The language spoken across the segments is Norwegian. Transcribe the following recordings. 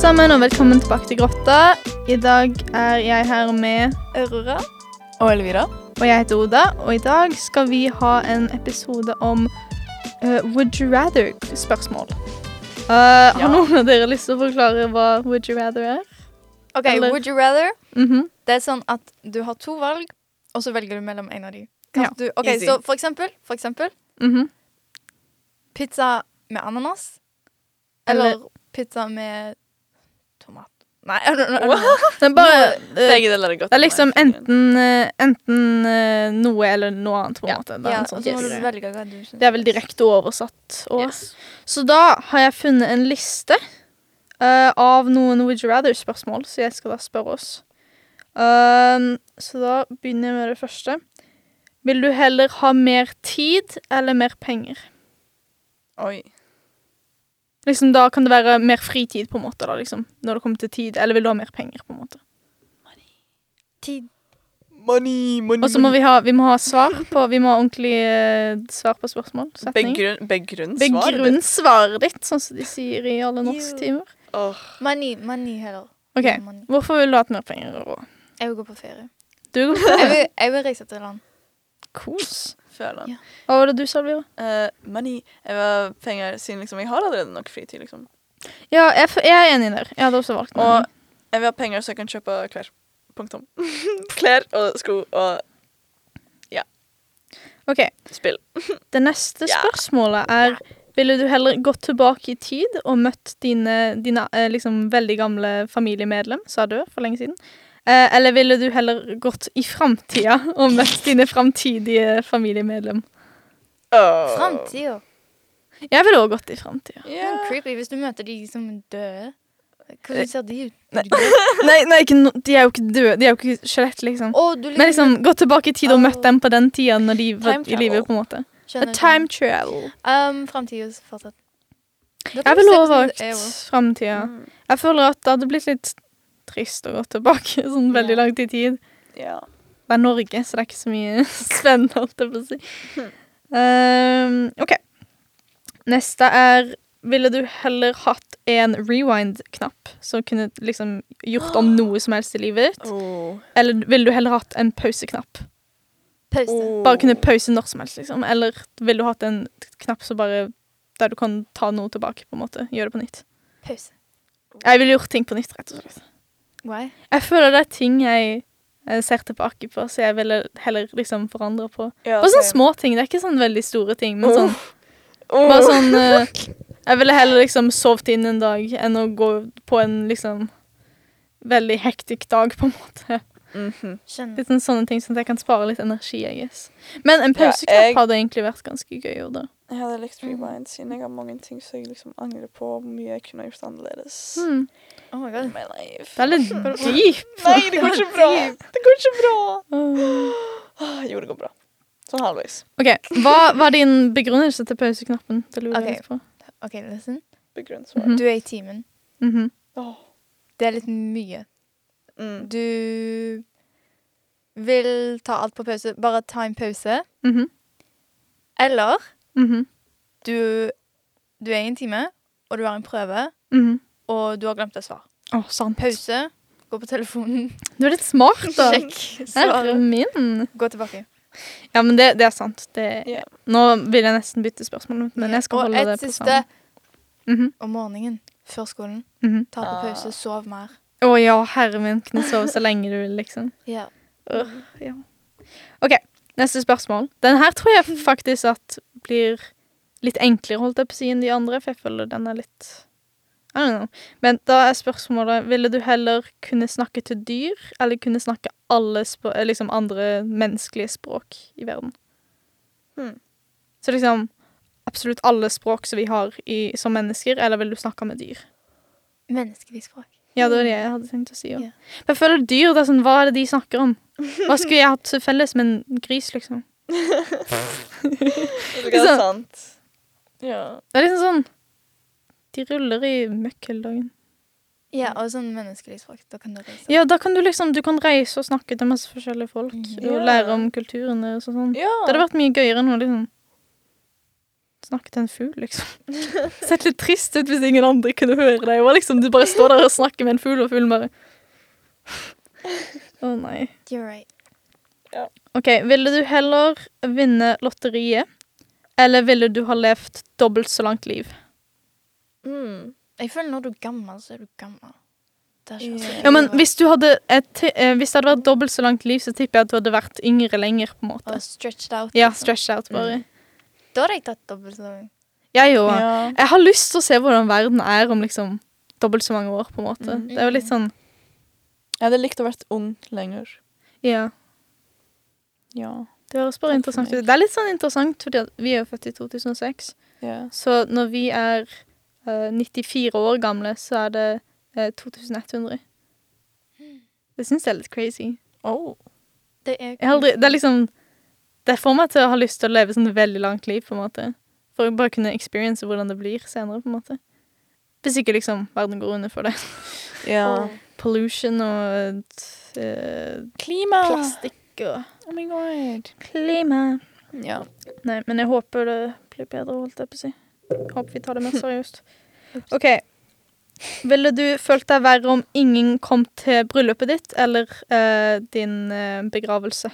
sammen, og velkommen tilbake til Grotta. I dag er jeg her med Aurora. Og Elvira. Og jeg heter Oda, og i dag skal vi ha en episode om eh, Would you rather-spørsmål. Eh, Har Ja. noen av dere lyst til å forklare hva Would you rather er? Ok, Eller- Would you rather? Mhm. Det er sånn at du har to valg, og så velger du mellom en av de. Ja, Kan du, ok, easy. så for eksempel, for eksempel Mhm. pizza med ananas. Eller- Eller, pizza med tomat. Nei, I don't know. Men bare eh, Begge deler er godt. Det er liksom enten, eh, enten eh, noe eller noe annet, på en Ja. måte. Det er, Ja, altså, en og så sånn må du type greie. velge hva du syns. det er vel direkte oversatt. Og Yes. Så da har jeg funnet en liste eh, av noen Would you rather-spørsmål, så jeg skal da spørre oss. Ehm, så da begynner jeg med det første. Vil du heller ha mer tid eller mer penger? Oi. Liksom Da kan det være mer fritid, på en måte, da, liksom, når det kommer til tid. Eller vil du ha mer penger, på en måte. Tid. Money, money, Og så må vi ha, vi må ha svar på Vi må ha ordentlig eh, svar på spørsmål. Setning. Begrunn, begrunn svaret ditt. Begrunn svaret ditt, sånn som de sier i alle norsktimer. Åh, Money, money heller. OK, Money. hvorfor vil du ha hatt mer penger? Aurora? Jeg vil gå på ferie. Du går Jeg på vil, jeg vil reise til land. kos. Ja. føler han. Hva var det du sa, Elvira? Eh, money. Jeg vil ha penger siden liksom, jeg har allerede nok fritid. liksom. Ja, jeg, f- jeg er enig der. Jeg hadde også valgt Og jeg vil ha penger så jeg kan kjøpe klær. Punktum. klær og sko og OK. spill. Det neste Ja. spørsmålet er Ville du heller gått tilbake i tid og møtt dine, dine eh, liksom, veldig gamle familiemedlem, sa du for lenge siden? Eh, eller ville du heller gått i framtida og møtt dine framtidige familiemedlem? Oh. Framtida. Jeg ville òg gått i framtida. Det er Ja. creepy hvis du møter de som er døde. Hvordan ser de ut? Nei. Eh, Nei, nei ikke, no- de er jo ikke døde. De er jo ikke skjelett, liksom. Å, du Men liksom, gått tilbake i tid og møtt Åh. dem på den tida når de var Time i live, travel. på en måte. A Skjønner du? time travel. Um, Framtidas fortsatt. Jeg ville òg valgt framtida. Mm. Jeg føler at det hadde blitt litt trist å gå tilbake sånn veldig Ja. langt i tid. Ja. Det er Norge, så det er ikke så mye spennende, holdt jeg på å si. Ehm, OK. Neste er Ville du heller hatt en rewind-knapp som kunne liksom gjort om noe som helst i livet ditt? Oh. Eller ville du heller hatt en pauseknapp? Pause. Bare Oh. kunne pause når som helst, liksom. Eller ville du hatt en knapp som bare der du kan ta noe tilbake, på en måte. Gjøre det på nytt. Pause. Jeg ville gjort ting på nytt, rett og slett. Why? Jeg føler det er ting jeg eh, ser tilbake på, så jeg ville heller liksom forandre på. Ja, Bare sånne same. små ting, det er ikke sånn veldig store ting, men sånn, Oh. bare sånn eh, Jeg ville heller liksom sovet inn en dag enn å gå på en liksom veldig hektisk dag, på en måte. Mhm. Skjønner. Litt sånn sånne ting, sånn at jeg kan spare litt energi, I guess. Men en Ja, pauseknapp jeg- hadde egentlig vært ganske gøy å gjøre det. Jeg hadde likt Mm. rewind siden jeg har mange ting som jeg liksom angrer på hvor mye jeg kunne ha gjort annerledes. Hmm. Oh my god. in my life. Det er litt deep. Nei, det går ikke bra! Det går ikke bra! Åh. Ah, Jo, det går bra. Sånn halvveis. OK, hva var din begrunnelse til pauseknappen? Det lurer jeg Ok. litt på. OK, listen. Begrunn Mhm. svaret. Du er i timen. Mhm. Åh. Det er litt mye. Mm. Du vil ta alt på pause. Bare ta en pause. Mhm. Eller Mhm. du, du er i en time, og du har en prøve, Mhm. og du har glemt et svar. Å, sant. Pause. Gå på telefonen. Du er litt smart, da. Sjekk Herre svaret. min. Gå tilbake. Ja, men det, det er sant. Det, Ja. Nå vil jeg nesten bytte spørsmål, men jeg skal holde og det et på siste samme. Mhm, om morgenen før skolen. mhm. Ta på Ah. pause, sov mer. Å ja, herre min. Kunne sove så lenge du vil, liksom. Ja. OK, neste spørsmål. Den her tror jeg faktisk at blir litt enklere, holdt jeg på å si, enn de andre, for jeg føler den er litt I don't know. Men da er spørsmålet Ville du heller kunne snakke til dyr, eller kunne snakke alle spå- eh, liksom andre menneskelige språk i verden? Hmm. Så liksom absolutt alle språk som vi har i, som mennesker, eller vil du snakke med dyr? Menneskelig språk. Ja, Mm. det var det jeg hadde tenkt å si. Ja. Ja. Men Jeg føler dyr, det er sånn, hva er det de snakker om? Hva skulle jeg hatt til felles med en gris, liksom? Det er sant. Ja. Det er liksom sånn De ruller i møkk hele dagen. Ja, og sånn menneskelig språk. Da kan du reise. Mm. Ja, da kan du liksom Du kan reise og snakke til masse forskjellige folk. Mhm. Og Ja. lære om kulturen deres og sånn. ja. Det hadde vært mye gøyere nå, liksom. snakke til en fugl, liksom. Sett litt trist ut hvis ingen andre kunne høre deg. Og liksom, du bare står der og snakker med en fugl, og fuglen bare Å nei. You're right. OK, ville du heller vinne lotteriet, eller ville du ha levd dobbelt så langt liv? Mm. Jeg føler når du er gammel, så er du gammel. Det er ikke Ja. alltid- Ja, men hvis du hadde et, ti- eh, Hvis det hadde vært dobbelt så langt liv, så tipper jeg at du hadde vært yngre lenger, på en måte. Og stretched out. Ja, liksom. stretch out, bare. Da hadde jeg tatt dobbelt så lang. Jeg òg. Mm. Ja. Jeg har lyst til å se hvordan verden er om liksom dobbelt så mange år, på en måte. Mhm. Det er jo litt sånn Jeg hadde likt å vært ung lenger. Ja. Ja. Det høres bare Takk for interessant meg. ut. Det er litt sånn interessant, fordi at vi er jo født i 2006. ja. Så når vi er eh, 94 år gamle, så er det eh, 2100. Det syns jeg er litt crazy. Oh. Det er Jeg har aldri, det er liksom Det får meg til å ha lyst til å leve sånn veldig langt liv, på en måte. For å bare kunne experience hvordan det blir senere, på en måte. Hvis ikke liksom verden går under for det. Ja. Åh. Pollution og eh, Klima! plastikk og Oh my god. klima. Ja. Nei, men jeg håper det blir bedre, holdt jeg på å si. Håper vi tar det mer seriøst. Ups. OK. Ville du følt deg verre om ingen kom til bryllupet ditt eller eh, din eh, begravelse?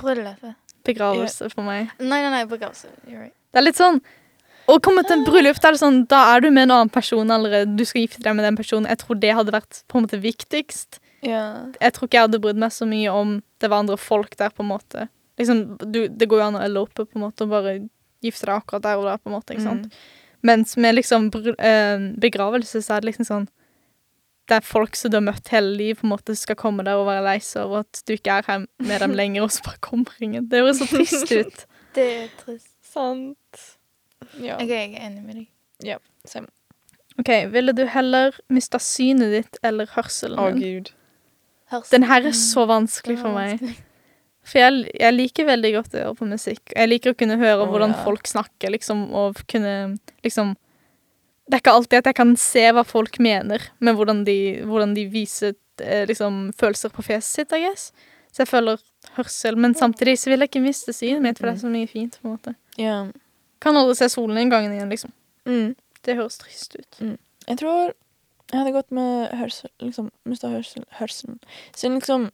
Bryllupet. Begravelse for meg. Nei, nei, nei, begravelse. You're right. Det er litt sånn Å komme til en bryllup, da er det sånn, da er du med en annen person allerede. Du skal gifte deg med den personen. Jeg tror det hadde vært på en måte viktigst. ja. Jeg tror ikke jeg hadde brydd meg så mye om det var andre folk der, på en måte. Liksom, du, det går jo an å elope, på en måte, og bare gifte deg akkurat der og da, på en måte. ikke sant? Mens med liksom br- eh, begravelse så er det liksom sånn Det er folk som du har møtt hele livet, på en måte, som skal komme der og være lei seg over at du ikke er her med dem lenger, og så bare kommer ingen. Det høres så trist ut. Det er trist. Sant. Ja. Ok, jeg er enig med deg. Same. OK, ville du heller mista synet ditt eller Å, hørselen din? gud. Hørsel. Den her er så Den vanskelig var for meg. For jeg, jeg liker veldig godt å høre på musikk. Jeg liker å kunne høre Å, hvordan ja. folk snakker, liksom, og kunne liksom Det er ikke alltid at jeg kan se hva folk mener, men hvordan de, hvordan de viser eh, liksom, følelser på fjeset sitt, I guess. Så jeg føler hørsel. Men samtidig så vil jeg ikke miste synet mitt, for det er så mye fint. på en måte. Ja. Kan aldri se solen en gang igjen, liksom. Mm. Det høres trist ut. Jeg tror jeg hadde gått med hørsel, liksom, mista hørsel, hørselen. Siden liksom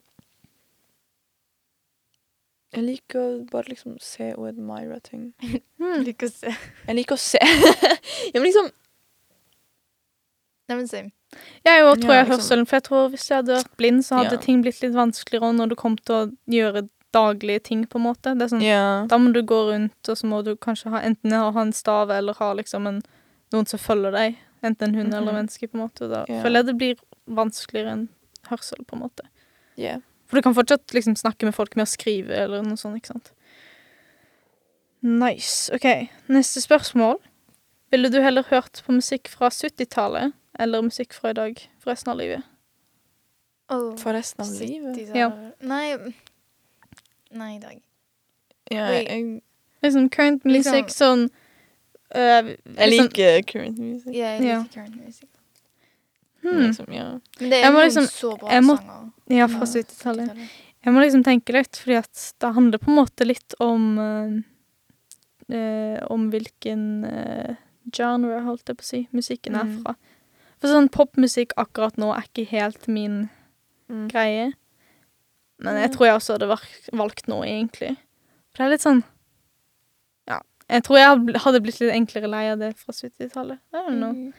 Jeg liker å bare liksom se og admire ting. Jeg Hmm. liker å se. Jeg liker å se Ja, men liksom Nei, men same. Jeg òg tror Ja, jeg har liksom. hørselen, for jeg tror hvis jeg hadde vært blind, så hadde Ja. ting blitt litt vanskeligere når du kom til å gjøre daglige ting, på en måte. Det er sånn, Ja. Da må du gå rundt, og så må du kanskje ha, enten ha en stav eller ha liksom en, noen som følger deg. Enten en hund eller Mhm. menneske, på en måte. og Da Ja. føler jeg det blir vanskeligere enn hørsel, på en måte. Yeah. For du kan fortsatt liksom snakke med folk med å skrive eller noe sånt, ikke sant. Nice. OK, neste spørsmål. Ville du heller hørt på musikk fra 70-tallet eller musikk fra i dag for resten av livet? Oh. For resten av livet. Ja. Nei. Nei, i dag. Ja, Wait. jeg, Liksom current Liksom- music, sånn øh, jeg liksom- liker current music. Ja, jeg Ja. liker current music. hmm, Liksom, ja. Men det er Jeg må noen liksom- så bra jeg må- sanger. Ja, fra Ja. 70-tallet. Jeg må liksom tenke litt, fordi at det handler på en måte litt om øh, øh, Om hvilken øh, genre, holdt jeg på å si, musikken er Mhm. fra. For sånn popmusikk akkurat nå er ikke helt min Mm. greie. Men Ja. jeg tror jeg også hadde valgt, valgt noe, egentlig. For det er litt sånn Ja. Jeg tror jeg hadde bl- hadde blitt litt enklere lei av det fra 70-tallet. I don't know. Mm.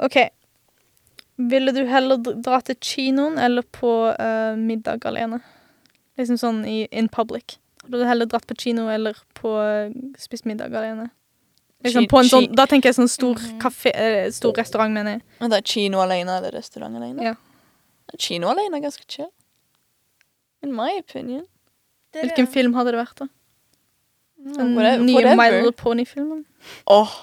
OK. Ville du heller dr- dra til kinoen eller på eh, middag alene? Liksom sånn i, in public. Hadde du heller dratt på kino eller på eh, spist middag alene? Liksom Ki- på en sånn, ki- da tenker jeg sånn stor, Mhm. kafé, eh, stor restaurant, mener jeg. Men det er kino alene eller restaurant alene? Ja. Kino alene er ganske chill. In my opinion. Det er Hvilken det. film hadde det vært, da? Den Mm, Whatever- nye My whatever. Little Pony-filmen? Åh,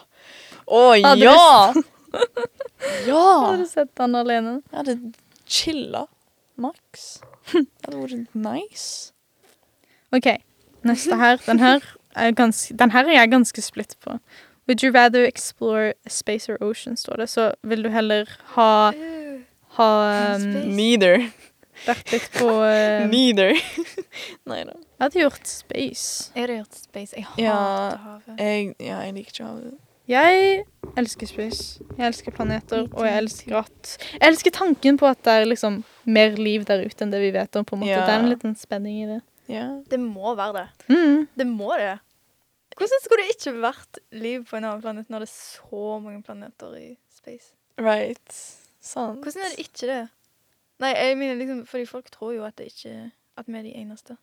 åh Ja, det- ja! Har ja! du sett han alene? Jeg hadde chilla maks. Det hadde vært nice. OK, neste her. Den her er, ganske, den her er jeg ganske splitt på. Would you rather explore space or ocean, står det. Så vil du heller ha, Øh, ha um, Mm. Space. Neither. vært litt på eh, Neither. Nei da. Jeg hadde gjort space. Jeg hadde gjort space. Jeg hater Ja. havet. Jeg, ja, jeg liker ikke havet. Jeg elsker space. Jeg elsker planeter, og jeg elsker at Jeg elsker tanken på at det er liksom mer liv der ute enn det vi vet om. på en måte. Ja. Det er en liten spenning i det. Ja. Det må være det. Mm. Det må det. Hvordan skulle det ikke vært liv på en annen planet når det er så mange planeter i space? Right. Sant. Hvordan er det ikke det? Nei, jeg mener liksom, fordi folk tror jo at det ikke At vi er de eneste.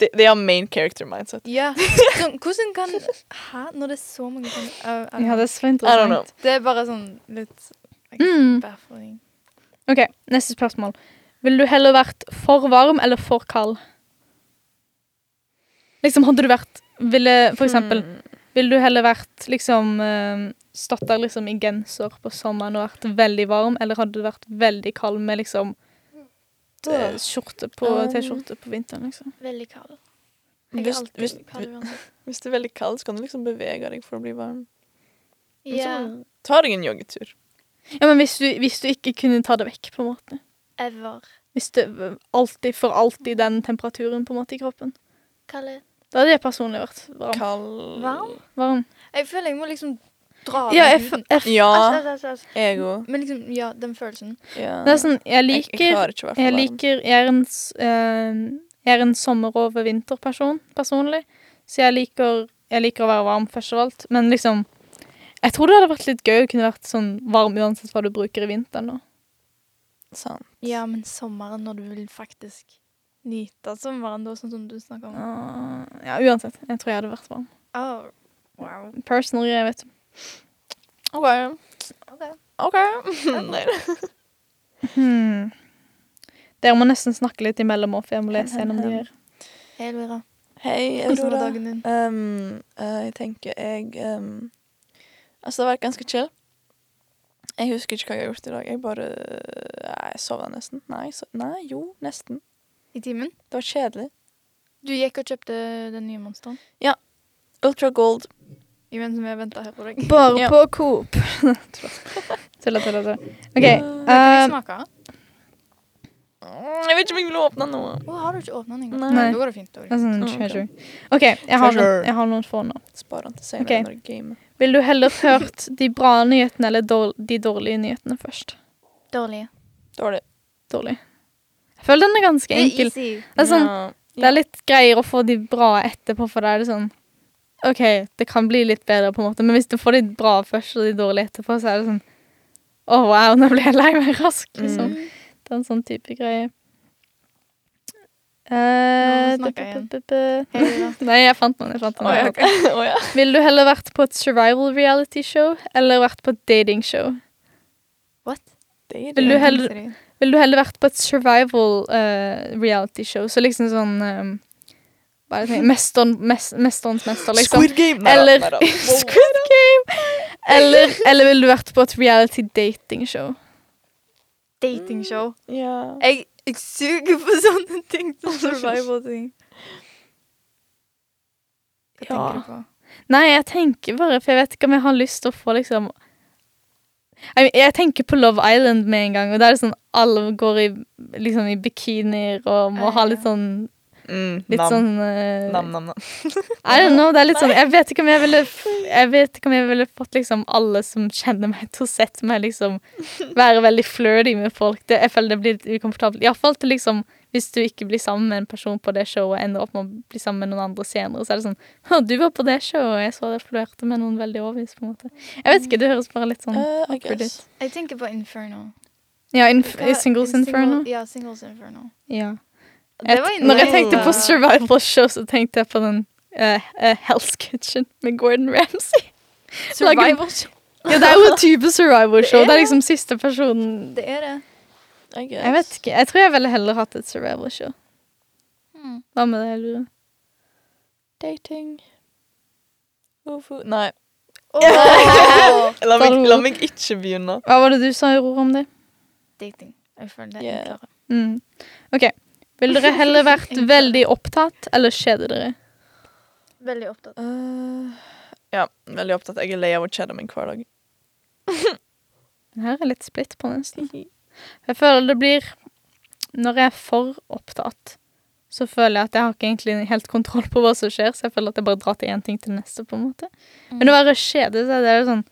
De, de har main character mindset. Ja, sånn, hvordan kan Hæ? Når det er så mange planeter Au, au. Ja, det er så I don't know. interessant. Det er bare sånn litt Mm. baffling. OK, neste spørsmål. Ville du heller vært for varm eller for kald? Liksom, hadde du vært Ville for eksempel Hmm. Ville du heller vært liksom eh, Stått der liksom i genser på sommeren og vært veldig varm, eller hadde du vært veldig kald med liksom eh, skjorte på Um. T-skjorte på vinteren, liksom? Veldig kald. Jeg er Hvis, alltid hvis, kald uansett. hvis du er veldig kald, så kan du liksom bevege deg for å bli varm. Ja. Så Ta deg en joggetur. Ja, men hvis du, hvis du ikke kunne ta det vekk, på en måte. Ever. Hvis det var alltid for alltid den temperaturen på en måte i kroppen. Kald. Da hadde jeg personlig vært varm. Kald Varm? varm. Jeg føler jeg må liksom dra Ja, meg jeg, ut. f- jeg, f- Æsj, Ja. æsj, æsj, æsj. Ego. Men liksom, ja, den følelsen. Ja. det er sånn, jeg Jeg- jeg liker klarer ikke å være for Jeg varm. liker Jeg er en, s- eh, jeg er en sommer- og vinterperson personlig. Så jeg liker, jeg liker å være varm først og alt. Men liksom Jeg tror det hadde vært litt gøy å kunne vært sånn varm uansett hva du bruker i vinteren. nå. Sant. Ja, men sommeren når du vil faktisk nyte sommeren, da, sånn som du snakker om. Ah, Ja, uansett. Jeg tror jeg hadde vært varm. Oh, wow. Personal greie, vet du. OK. Ok. OK. Nei da. Hmm. Dere må nesten snakke litt imellom òg, for jeg må lese gjennom de her. Hei, Elvira. Hei, Hvordan var Aurora. dagen din? Um, eh, jeg tenker jeg um, Altså, det har vært ganske chill. Jeg husker ikke hva jeg har gjort i dag. Jeg bare Nei, Jeg sovna nesten. Nei, so nei, jo, nesten. I timen? Det var kjedelig. Du gikk og kjøpte den nye monsteren. Ultra gold. Imens vi venta her på deg. Bare Ja. på Coop. Tulla, tulla, tulla. OK. Ja. Hva kan jeg eh, smake? Mm, Jeg vet ikke om jeg vil åpne nå. Å, har du ikke åpna den engang? Nei. Nei. Da går det fint. Da. går det fint. sånn, Ok. treasure. OK, jeg har, Treasure. noen, jeg har noen få nå. Spar den til senere Ok. når jeg gamer. Vil du heller hørt de bra nyhetene eller dår- de dårlige nyhetene først? Dårlig. Dårlig. Dårlig. Jeg føler den er ganske enkel. easy. Det er, sånn, Ja. det er litt greier å få de bra etterpå, for da er det sånn OK, det kan bli litt bedre, på en måte, men hvis du får de bra først og de dårlige etterpå, så er det sånn Å, wow, nå ble jeg lei meg raskt, liksom. Mm. Det er en sånn type greie. Nå Eh, snakker jeg bu-bu-bu-bu. Hei, Elvira. Nei, jeg fant noen. Jeg fant Å ja. noen. ok. Å ja. Ville du heller vært på et survival reality show eller vært på et datingshow? What? Det er Vil du he- det. heller- Ville du heller vært på et survival eh, reality show? Så liksom sånn um, Hva er det jeg tenker? Mesteren- mes- Mesterens mester, liksom. Squid Game! Neida, Eller neida. Squid Game! Eller, eller ville du vært på et reality dating show? Datingshow. Ja. Jeg, jeg suger på sånne ting. Sånn survival-ting. Hva Ja. tenker du på? Nei, jeg tenker bare, for jeg vet ikke om jeg har lyst til å få liksom jeg, jeg tenker på Love Island med en gang, og da er det sånn alle går i, liksom, i bikinier og må ha litt sånn Mm, Litt nam. sånn eh, nam, nam, nam. I don't know, det er litt sånn Jeg vet ikke om jeg ville Jeg vet ikke om jeg ville fått liksom alle som kjenner meg til å sette meg liksom Være veldig flirty med folk det, Jeg føler det blir litt ukomfortabelt I hvert fall til liksom Hvis du ikke blir sammen med en person på det showet Og ender opp med å bli sammen med noen andre senere Så er det sånn Å, du var på det showet Og jeg så deg flørte med noen veldig overvis på en måte Jeg vet ikke, det høres bare litt sånn Eh, I awkward guess. ut Jeg tenker på Inferno. Ja, inf Hva- Singles Single- Inferno Ja, Singles Inferno. Ja Det var Et- Når jeg tenkte på innholdet. survival show Så tenkte jeg på den eh, eh, Hell's Kitchen med Gordon Ramsay Survival Ja, det er jo en type survival show. Det er Det er det. liksom siste personen Det er det. I guess. Jeg vet ikke. Jeg tror jeg ville heller hatt et survival show. Hmm. Hva med det, Lure? Dating. Woohoo. Nei. Åh! La meg, Dalmo. la meg ikke begynne. Hva var det du sa, Aurora, om det? Dating. Jeg føler det er Yeah. enklere. Mm. OK. Ville dere heller vært veldig opptatt eller kjede dere? Veldig opptatt. Uh, ja, veldig opptatt. Jeg er lei av å kjede meg hver dag. Den her er litt splitt på, nesten. Jeg føler det blir når jeg er for opptatt, så føler jeg at jeg har ikke egentlig helt kontroll på hva som skjer, så jeg føler at jeg bare drar til én ting til neste, på en måte. Mm. Men å være kjede, så er det jo sånn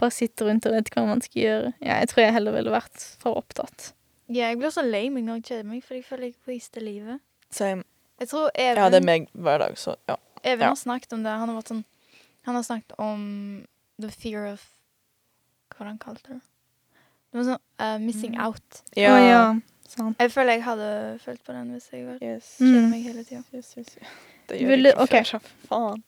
Bare sitte rundt og vet hva man skal gjøre. Ja, jeg tror jeg heller ville vært for opptatt. Mm. Ja, jeg blir så lei meg når jeg kjeder meg, for jeg føler jeg waster livet. Same. Jeg tror Even, Ja, det er meg hver dag, så ja. Even ja. har snakket om det. Han har, vært sånn, han har snakket om the fear of Hva var det han kalte det? Det var sånn eh, missing Mm. out. Å ja. Sant. Jeg føler jeg hadde følt på den hvis jeg var Yes. kjeder Mm. meg hele tida. Yes, yes, yes. Det Vil jeg du- ikke ok. før. Faen.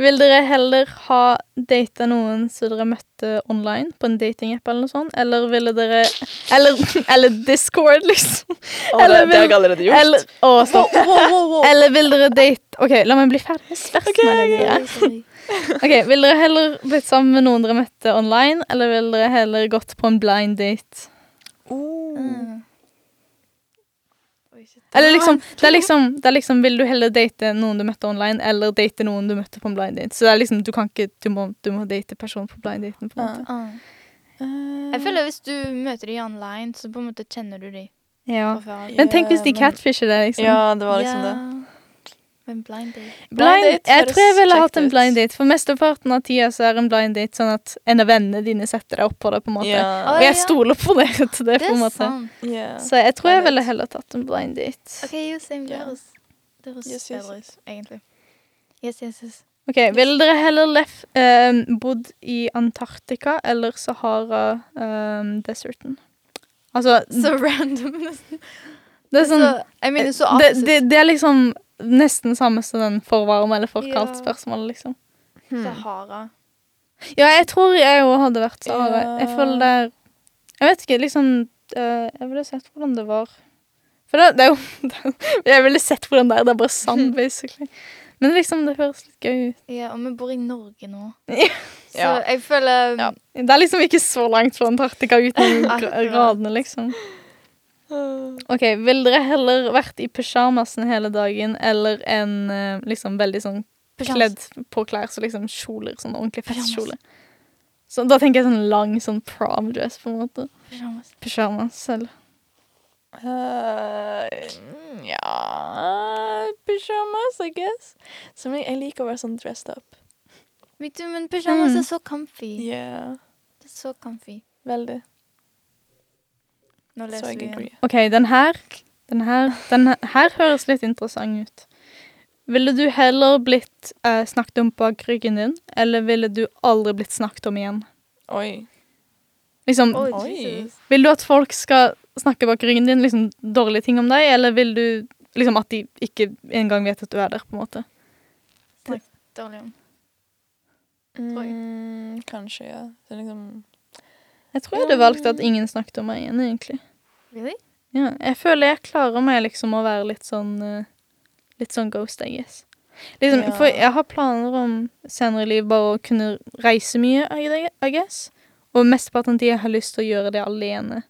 Vil dere heller ha data noen som dere møtte online på en datingapp eller noe sånt, eller ville dere Eller, eller Discord, liksom. Å, det, Eller det har vil- jeg allerede gjort. Eller Å, stopp. Eller vil dere date OK, la meg bli ferdig. Jeg sverger meg det greiet. Ok, Vil dere heller blitt sammen med noen dere møtte online, eller vil dere heller gått på en blind date? Mm. Oh. Eller liksom, det er liksom, det er liksom Vil du heller date noen du møtte online, eller date noen du møtte på en blind date? Så det er liksom, du kan ikke Du må, du må date personen på blind daten, på en måte. Ah. Eh, Jeg føler Hvis du møter dem online, så på en måte kjenner du dem Ja. fra før. Men tenk hvis de Ja, men- catfisher deg, liksom. Ja, det var liksom det. Men blind date Blind, date jeg høres tror jeg ville kjekt hatt en ut. blind date, for mesteparten av tida så er en blind date sånn at en av vennene dine setter deg opp på det, på en måte. Ja. Og Oi. jeg stoler på dere til det, Det på en er måte. sant. Ja. Så jeg tror jeg Blind ville date. heller tatt en blind date. OK, jo, same. Det Ja. høres det høres Yes, yes, bedre ut, egentlig. Yes, yes, yes. Ok, Ville dere heller lef, ehm, bodd i Antarktika eller Sahara ehm, Deserten? Altså, Så random, nesten. det er sånn så, jeg mener, så det, opposite. det, det er liksom nesten samme som den for varm eller for kaldt Ja. spørsmålet, liksom. Hmm. Sahara. Ja, jeg tror jeg òg hadde vært Sahara. Jeg Ja. føler det er Jeg vet ikke, liksom eh, Jeg ville sett hvordan det var. For det, det er jo det er- Jeg ville sett hvordan det er. Det er bare sand, basically. Men liksom, det høres litt gøy ut. Ja, og vi bor i Norge nå. Ja. Så jeg føler Ja. Det er liksom ikke så langt fra Antarktika utenom gra- Akkurat. gradene, liksom. OK, ville dere heller vært i pysjamasen hele dagen eller en eh, liksom veldig sånn kledd på klær, så liksom kjoler, sånn ordentlig festkjole? Så da tenker jeg sånn lang sånn prom-dress, på en måte. Pyjamas. Pysjamas selv. Eh, mm, ja Pyjamas, I guess. Som jeg, jeg liker å være sånn dressed up. Vet du, men pyjamas Mm. er så comfy. Yeah. Det er så comfy. Veldig. Nå Så leser jeg vi igjen. agree. OK, den her Den her, den her høres litt interessant ut. Ville du heller blitt eh, snakket om bak ryggen din, eller ville du aldri blitt snakket om igjen? Oi. Liksom, Oi, Oi. Jesus. Vil du at folk skal snakke bak ryggen din liksom dårlige ting om deg, eller vil du liksom at de ikke engang vet at du er der, på en måte? Dårlig om. Mm, kanskje, ja. Det er liksom Jeg tror jeg hadde valgt at ingen snakket om meg igjen, egentlig. Really? Ja, jeg føler jeg klarer meg liksom å være litt sånn eh, Litt sånn ghost, I guess. Liksom, Ja. For jeg har planer om senere i livet bare å kunne reise mye, I gue- I guess. Og mesteparten av tida har jeg lyst til å gjøre det alene.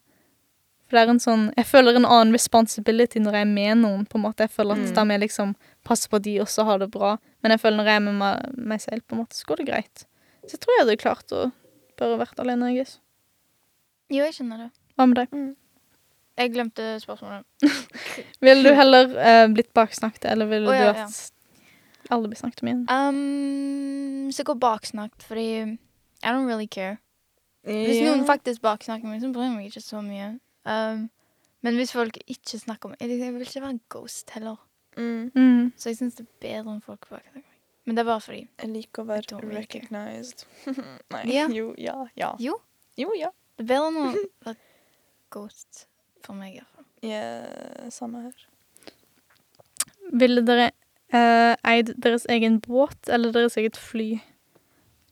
For det er en sånn Jeg føler en annen responsibility når jeg er med noen, på en måte. Jeg føler at Mm. da må jeg liksom passe på at de også har det bra. Men jeg føler når jeg er med meg, meg selv, på en måte, så går det greit. Så jeg tror jeg hadde klart å bare vært alene, I guess. Jo, jeg skjønner det. Hva med deg? Mm. Jeg glemte spørsmålet. Ville du heller eh, blitt baksnakket, eller ville Å, ja, du at alle blir snakket om igjen? Um, så jeg går baksnakket, fordi I don't really care. Hvis Ja. noen faktisk baksnakker meg, så bryr jeg meg ikke så mye. Um, men hvis folk ikke snakker om Jeg jeg vil ikke være en ghost heller. mm, Mm. Så jeg syns det er bedre om folk baksnakker meg. Men det er bare fordi Jeg liker Jeg å være don't like it. recognized. Nei. Ja. Jo, ja. Ja. Jo. Jo, ja. Det er bedre enn å være ghost for meg, i hvert fall. Ja, samme her. Ville dere eh, eid deres egen båt eller deres eget fly?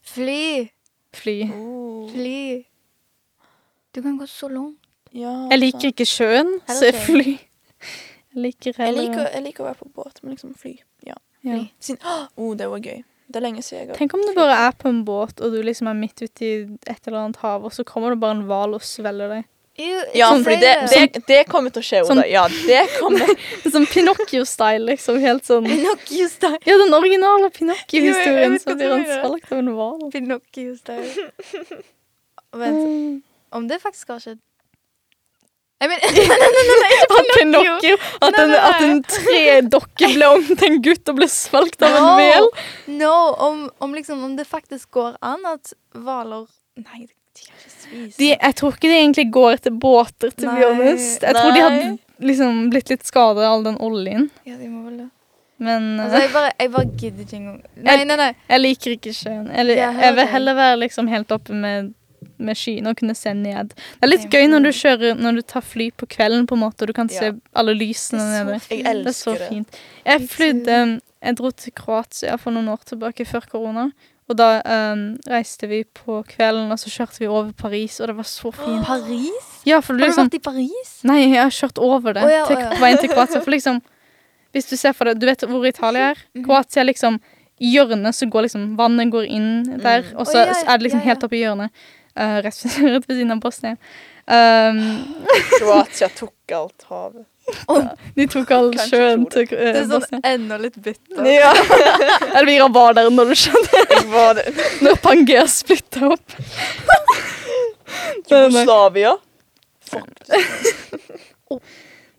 Fly! Fly. Oh. Fly! Du kan gå så langt. Ja, altså. Jeg liker ikke sjøen, så Heller jeg sjøen. fly. Jeg liker Jeg heller liker, jeg liker å være på båt, men liksom fly. Ja. ja. fly. Siden, oh, det var gøy. Det er lenge siden jeg har Tenk om du bare er på en båt, og du liksom er midt ute i et eller annet hav, og så kommer det bare en hval og svelger deg. Ew, Ja, ikke fordi si det, det, det kommer til å skje, Oda. Sånn- Ja, det kommer. Sånn Pinocchio-style, liksom. Helt sånn Pinocchio-style. Ja, den originale Jo, jeg Pinocchio-historien, vet så hva du blir han mener. svelget av en hval. Pinocchio-style. Vent, Mm. om det faktisk har skjedd Nei, men nei, nei, nei, nei, nei, ikke At Pinocchio. Pinocchio At Nei, en, nei, nei. at en tredokke ble om til en gutt og ble svelget av en No. mel. No, om, om, liksom, om det faktisk går an at hvaler Nei, de kan ikke spise De, jeg tror ikke de egentlig går etter båter, to Nei. be honest. Jeg tror de hadde Nei. liksom blitt litt skadet av all den oljen. Ja, de må vel det. Men Altså, eh, jeg bare, jeg bare gidder ikke engang. Nei, nei, nei. jeg liker ikke sjøen. Eller, Jeg jeg vil hører. heller være liksom helt oppe med, med skyene og kunne se ned. Det er litt Ja. gøy når du kjører Når du tar fly på kvelden, på en måte, og du kan Ja. se alle Det lysene er nede. så Jeg fint. Det er så elsker det. fint. Jeg Jeg flydde tror- um, Jeg dro til Kroatia for noen år tilbake før korona. Og da um, reiste vi på kvelden, og så kjørte vi over Paris, og det var så fint. Paris? Ja, for Har du liksom vært i Paris? Nei, jeg har kjørt over det Å ja, å til- ja. på veien til Kroatia. For liksom Hvis du ser for deg Du vet hvor Italia er? Mhm. Kroatia er liksom I hjørnet så går liksom Vannet går inn der, Mm. og Å så ja, så er det liksom ja, ja. helt oppe i hjørnet. eh, rett, rett ved siden av Bosnia. Um, Kroatia tok alt havet. de tok all Kanskje sjøen tror til eh, Det er Bosnia. sånn enda litt bitter. Ja. Elvira var der når du skjønte Jeg var det. Når Pangea splitta opp. Nei, nei. Jugoslavia.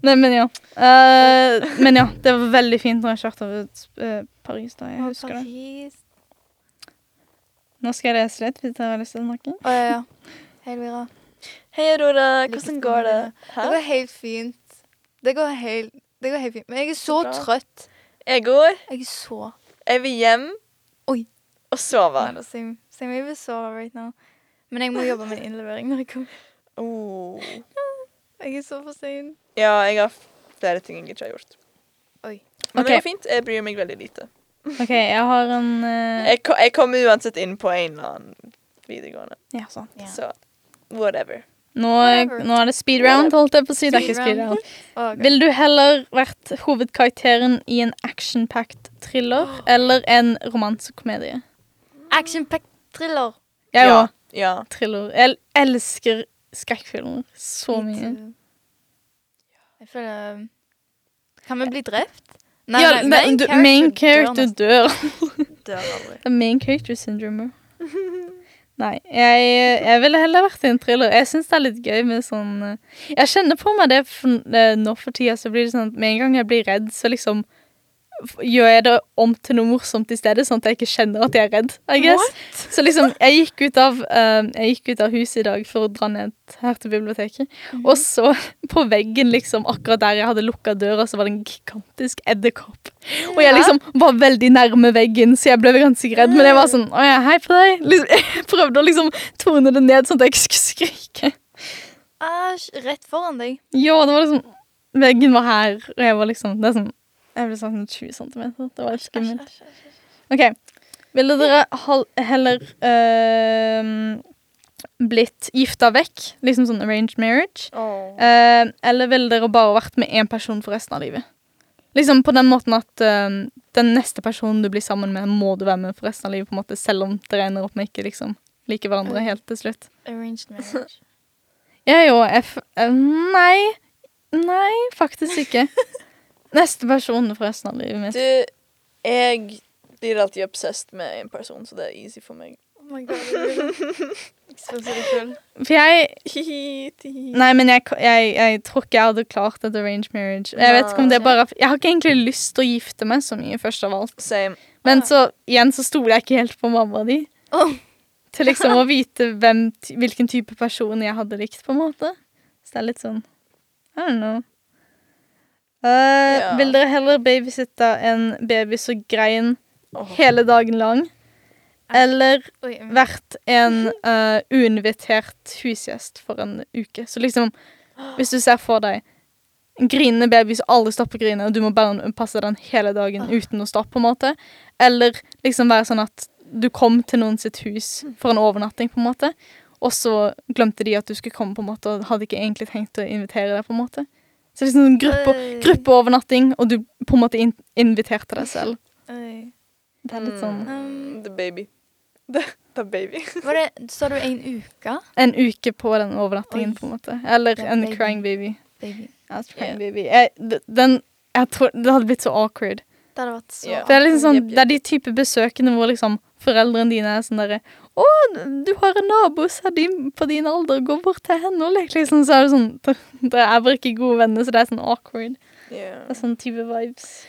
Nei, men ja. Eh, men ja, det var veldig fint når jeg kjørte over eh, Paris. da, jeg Å, husker det. Paris. Nå skal jeg lese litt hvis dere har lyst til å snakke. Å ja, ja. Hei, Elvira. Hei, Aurora. Lykke til Hvordan går det? Det Hæ? går helt fint. Det går helt, det går helt fint. Men jeg er så bra. trøtt. Jeg går. Jeg er så Jeg vil hjem Oi. og sove. Nei, da, Same, same. Jeg vil sove right now. Men jeg må jobbe med innlevering når jeg kommer. Oh. Jeg er så for sein. Ja, jeg har flere ting jeg ikke har gjort. Oi. Men Ok. det går fint. Jeg bryr meg veldig lite. OK, jeg har en eh, Jeg, ko- jeg kommer uansett inn på en eller annen videregående, Ja, sant. Ja. så whatever. Nå, Whatever. nå er det speed round, holdt jeg på å si. Det er ikke Speed speed round. round. Å, gud. Ville du heller vært hovedkarakteren i en action-packed thriller eller en romansekomedie? Action-packed thriller. Jeg ja. òg. Ja. Thriller. Jeg elsker skrekkfilmer så Me mye. too. Jeg føler um, Kan vi bli drept? ja, men du- main character dør dør. Dør aldri. The main character syndrome. Nei, jeg, jeg ville heller vært i en thriller. Jeg syns det er litt gøy med sånn eh, Jeg kjenner på meg det for, eh, nå for tida, så blir det sånn at med en gang jeg blir redd, så liksom f- gjør jeg det om til noe morsomt i stedet, sånn at jeg ikke kjenner at jeg er redd. I guess. Så liksom, jeg gikk ut av eh, Jeg gikk ut av huset i dag for å dra ned her til biblioteket, og så på veggen, liksom, akkurat der jeg hadde lukka døra, så var det en gigantisk edderkopp. Og jeg liksom var veldig nærme veggen, så jeg ble ganske redd. Men jeg var sånn Å ja, hei på deg. Liksom, jeg prøvde å liksom tone det ned, sånn at jeg ikke skulle skrike. Æsj, rett foran deg. Ja, det var liksom Veggen var her, og jeg var liksom Det er sånn Jeg ble sånn 20 centimeter. Det var litt skummelt. Æsj, æsj, æsj. OK. Ville dere hal- heller øhm, blitt gifta vekk, liksom sånn arranged marriage, Eh, eller ville dere bare vært med én person for resten av livet? Liksom på den måten at eh, den neste personen du blir sammen med, må du være med for resten av livet, på en måte, selv om dere ender opp med ikke liksom like hverandre helt til slutt. Arranged marriage. Jeg og F... eh, Nei. Nei, faktisk ikke. Neste person for resten av livet mitt. Du, jeg blir alltid obsessed med en person, så det er easy for meg. Oh my god. Jeg syns det sjøl. For jeg Hihi, tihi. Nei, men jeg, jeg, jeg tror ikke jeg hadde klart et arranged marriage. Jeg vet ikke om det er bare Jeg har ikke egentlig lyst til å gifte meg så mye, først av alt. Same. Men Ah. så igjen så stoler jeg ikke helt på mamma di. Åh. Til liksom å vite hvem, ty- hvilken type person jeg hadde likt, på en måte. Så det er litt sånn I don't know. Eh, Ja. Vil dere heller babysitte en baby som grein Åh. hele dagen lang, eller Oi, jeg- vært en eh, uinvitert husgjest for en uke. Så liksom, hvis du ser for deg en grinende baby som alle stopper å grine, og du må bare passe den hele dagen uten å stoppe, på en måte. Eller liksom være sånn at du kom til noen sitt hus for en overnatting, på en måte. Og så glemte de at du skulle komme, på en måte, og hadde ikke egentlig tenkt å invitere deg. på en måte. Så liksom sånn gruppe, Oi. gruppeovernatting, og du på en måte in inviterte deg selv. Oi. Det Mm. er litt sånn Um, The baby. The, the baby. var det, sa du en uke? en uke på den overnattingen, Oi. på en måte. Eller Ja, en baby. crying baby. Baby. Ja, crying Ja. baby. Jeg, d- den, jeg tror, det hadde blitt så awkward. Det hadde vært så Ja. Det er, liksom sånn, Jepp, jepp, det er de type besøkene hvor liksom foreldrene dine er sånn derre Å, du har en nabo som er din, på din alder, gå bort til henne og lek, liksom. Så er det sånn Dere er bare ikke gode venner, så det er sånn awkward. Yeah. Det er sånn type vibes.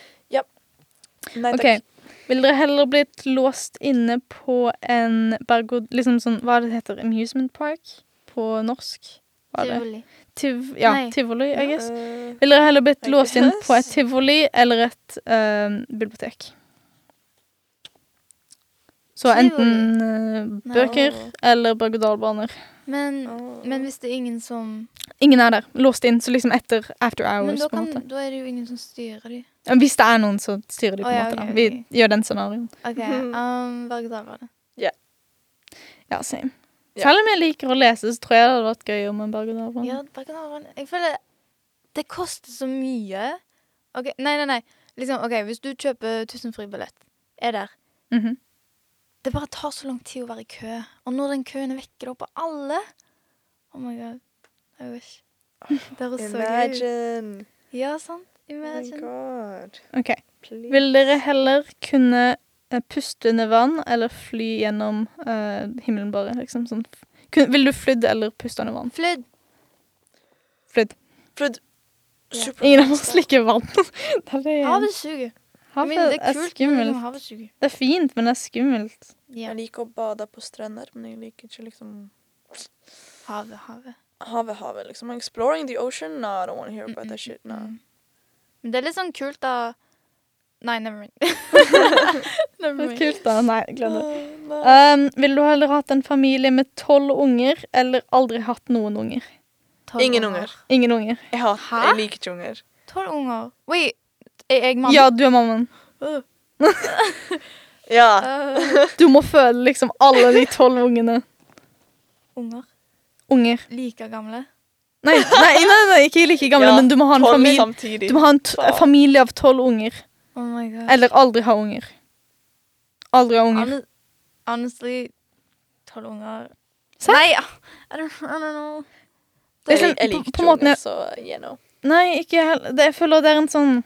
Nei takk. OK. Vil dere heller blitt låst inne på en berg- og- Liksom sånn Hva er det det heter? Amusement park? På norsk? Hva er det? Tivoli. Tiv ja, Nei. tivoli, I guess. Eh, Ville dere heller blitt I låst inn på et guess. tivoli eller et eh, bibliotek? Så enten eh, bøker No. eller berg-og-dal-baner. Men, Åh. men hvis det er ingen som Ingen er der. Låst inn, så liksom etter after Men hours. da, på en kan, måte. da er det jo ingen som styrer dem. Ja, Hvis det er noen, så styrer de på Å, en måte. ja, ok, da. ok. Vi gjør den scenarioen. OK. Mhm. Um, Berg-og-dal-bane. Ja, same. Ja. Selv om jeg liker å lese, så tror jeg det hadde vært gøy om en berg-og-dal-bane. Ja, berg-og-dal-bane Jeg føler det koster så mye. OK, nei, nei, nei. Liksom, ok, Hvis du kjøper tusenfrybillett, er der Mhm. Det bare tar så lang tid å være i kø. Og når den køen er vekke, da på alle Oh my god. I wish. Det høres så gøy ut. Imagine. Ja, sant. Oh my Imagine. god. Ok. Please. Vil dere heller kunne eh, puste under vann eller fly gjennom eh, himmelen bare? Liksom, sånn. Kun, vil du flydd eller puste under vann? Flydd. Flydd. Fred, Ja. super Ingen av oss liker vann. Det er det- Havet suger. Jeg Havet mener, det er er kult. men skummelt. Havet suger. Det er fint, men det er skummelt. Ja. Jeg liker å bade på strender, men jeg liker ikke liksom Havet, havet. havet, havet. liksom. I'm exploring the ocean. No, I don't want to hear about that shit. No. Mm. Men det er litt sånn kult, da. Nei, never mind. never Det er mind. kult, da. Nei, glem det. Ah, nei. Um, vil du heller hatt en familie med tolv unger eller aldri hatt noen unger? Tolv Ingen unger. Ingen unger. Jeg hater Hæ? Jeg liker ikke unger. Tolv unger. Wait, er jeg mann? Uh, Ja, du er mammaen. Uh, Ja. Øh, Du må føle liksom alle de tolv ungene. unger. Unger. Like gamle. Nei, nei, nei, nei ikke like gamle, Ja, men du må ha en Tolv familie. samtidig. Du må ha en t Faen. familie av tolv unger. Oh my god. Eller aldri ha unger. Aldri ha unger. Honest- Honestly, tolv unger Sett. Nei, ja. I don't, I don't know. Det er Jeg, sånn, jeg på- liker på ikke måten unger, jeg- så you know. Nei, ikke heller. Det- Jeg føler det er en sånn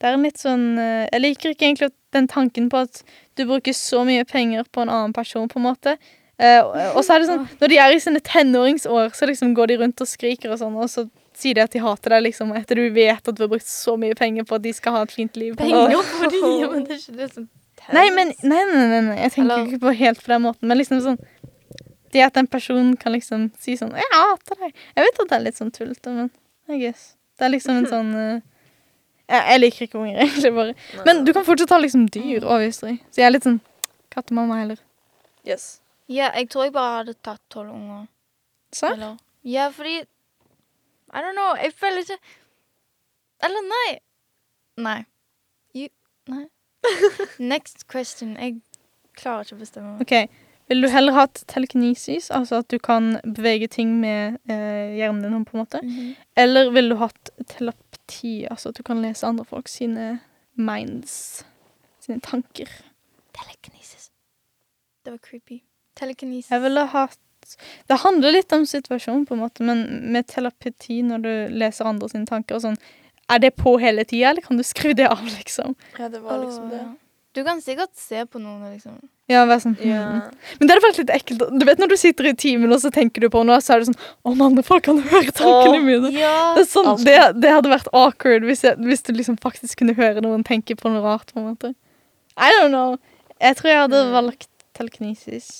Det er en litt sånn eh, Jeg liker ikke egentlig at- den tanken på at du bruker så mye penger på en annen person, på en måte. Eh, og- og så er det sånn, når de er i sine tenåringsår, så liksom går de rundt og skriker og sånn, og så sier de at de hater deg, liksom, etter du vet at du har brukt så mye penger på at de skal ha et fint liv. på en måte. Penger på de, ja, men det er ikke det som Nei, men nei, nei, nei, nei. jeg tenker Eller- ikke på helt på den måten, men liksom sånn Det at en person kan liksom si sånn 'Jeg hater deg'. Jeg vet at det er litt sånn tullete, men I guess. Det er liksom en sånn eh, jeg, jeg liker ikke unger, egentlig, bare. Nei. Men du kan fortsatt ha liksom dyr og hysteri. Så jeg er litt sånn kattemamma heller. Yes. Ja, jeg tror jeg bare hadde tatt tolv unger. Så? Eller Ja, fordi I don't know. Jeg føler ikke Eller nei. Nei. You Nei. Next question. Jeg klarer ikke å bestemme meg. OK. Vil du heller ha et telekinesis, altså at du kan bevege ting med eh, hjernen din, på en måte? Mhm. Eller vil du hatt telepati, altså at du kan lese andre folk sine minds, sine tanker? Telekinesis. Det var creepy. Telekinesis. Jeg ville hatt Det handler litt om situasjonen, på en måte, men med telepati når du leser andre sine tanker og sånn, er det på hele tida, eller kan du skru det av, liksom? Ja, det var liksom Åh, det. ja. Du kan sikkert se på noen og liksom Ja, vær sånn. Ja. hmm. Men det hadde vært litt ekkelt. Du vet når du sitter i timen og så tenker du på noe, så er det sånn Å, mann, folk kan høre tankene Åh, mine. Ja! Det, er sånn, Alltid. det, det hadde vært awkward hvis, jeg, hvis du liksom faktisk kunne høre noen tenke på noe rart. på en måte. I don't know. Jeg tror jeg hadde Mm. valgt telekinesis.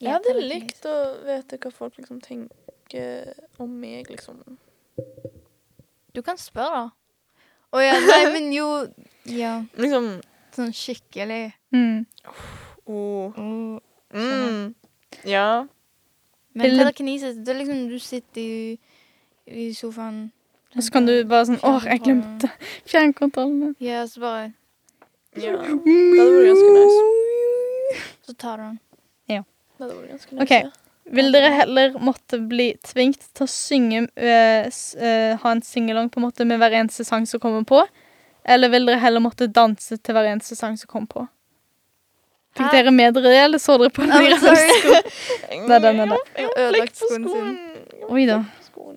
Jeg hadde likt å vite hva folk liksom tenker om meg, liksom. Du kan spørre, da. Å ja, nei, men jo Ja, Liksom sånn skikkelig. Mm. oh. Oh. mm. Ja. Men Eller- telekinesis, det er liksom du sitter i, i sofaen Og så kan du bare sånn Åh, jeg glemte fjernkontrollen. Ja, så bare ja. Det hadde vært ganske nice. Så tar du den. Det hadde vært ganske nice. Ok. Vil dere heller måtte bli tvingt til å synge eh, s- eh, Ha en singalong på en måte med hver eneste sang som kommer på? Eller vil dere heller måtte danse til hver eneste sang som kommer på? Fikk Hæ? dere med dere det, eller så dere på det? I'm sorry. Ja. Nei, den er det. Jeg har Ødelagt flikt på skoen sin. skoen. Jeg har Oi da. flikt på skoen.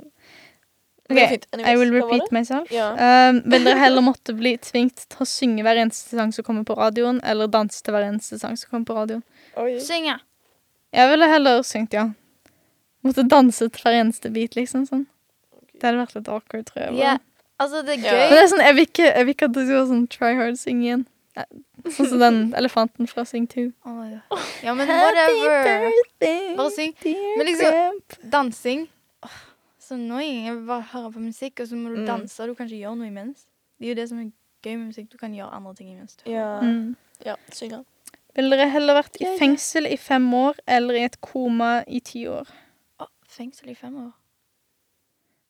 Men det er fint. Anyways, I will hva var repeat det? myself. Ja. Um, vil dere heller måtte bli tvunget til å synge hver eneste sang som kommer på radioen, eller danse til hver eneste sang som kommer på radioen? Oi. Synge. Jeg ville heller syngt, ja. Måtte danse til hver eneste bit, liksom. sånn. Det hadde vært litt awkward, tror jeg. bare. Ja. Altså, det er Ja. Men det gøy. er sånn, jeg vil ikke, jeg vil ikke at det skal være sånn try hard-syng igjen. Eh, Sånn som den elefanten fra Sing 2. Oh my God. Ja, men whatever. Bare syng. Men liksom- Dansing. Åh, Så annoying. Jeg vil bare høre på musikk, og så må du Mm. danse. Du kan ikke gjøre noe imens. Det er jo det som er gøy med musikk. Du kan gjøre andre ting imens. du Ja. Mm. ja. Synge. Ville dere heller vært i Ja, ja. fengsel i fem år eller i et koma i ti år? Å, fengsel i fem år.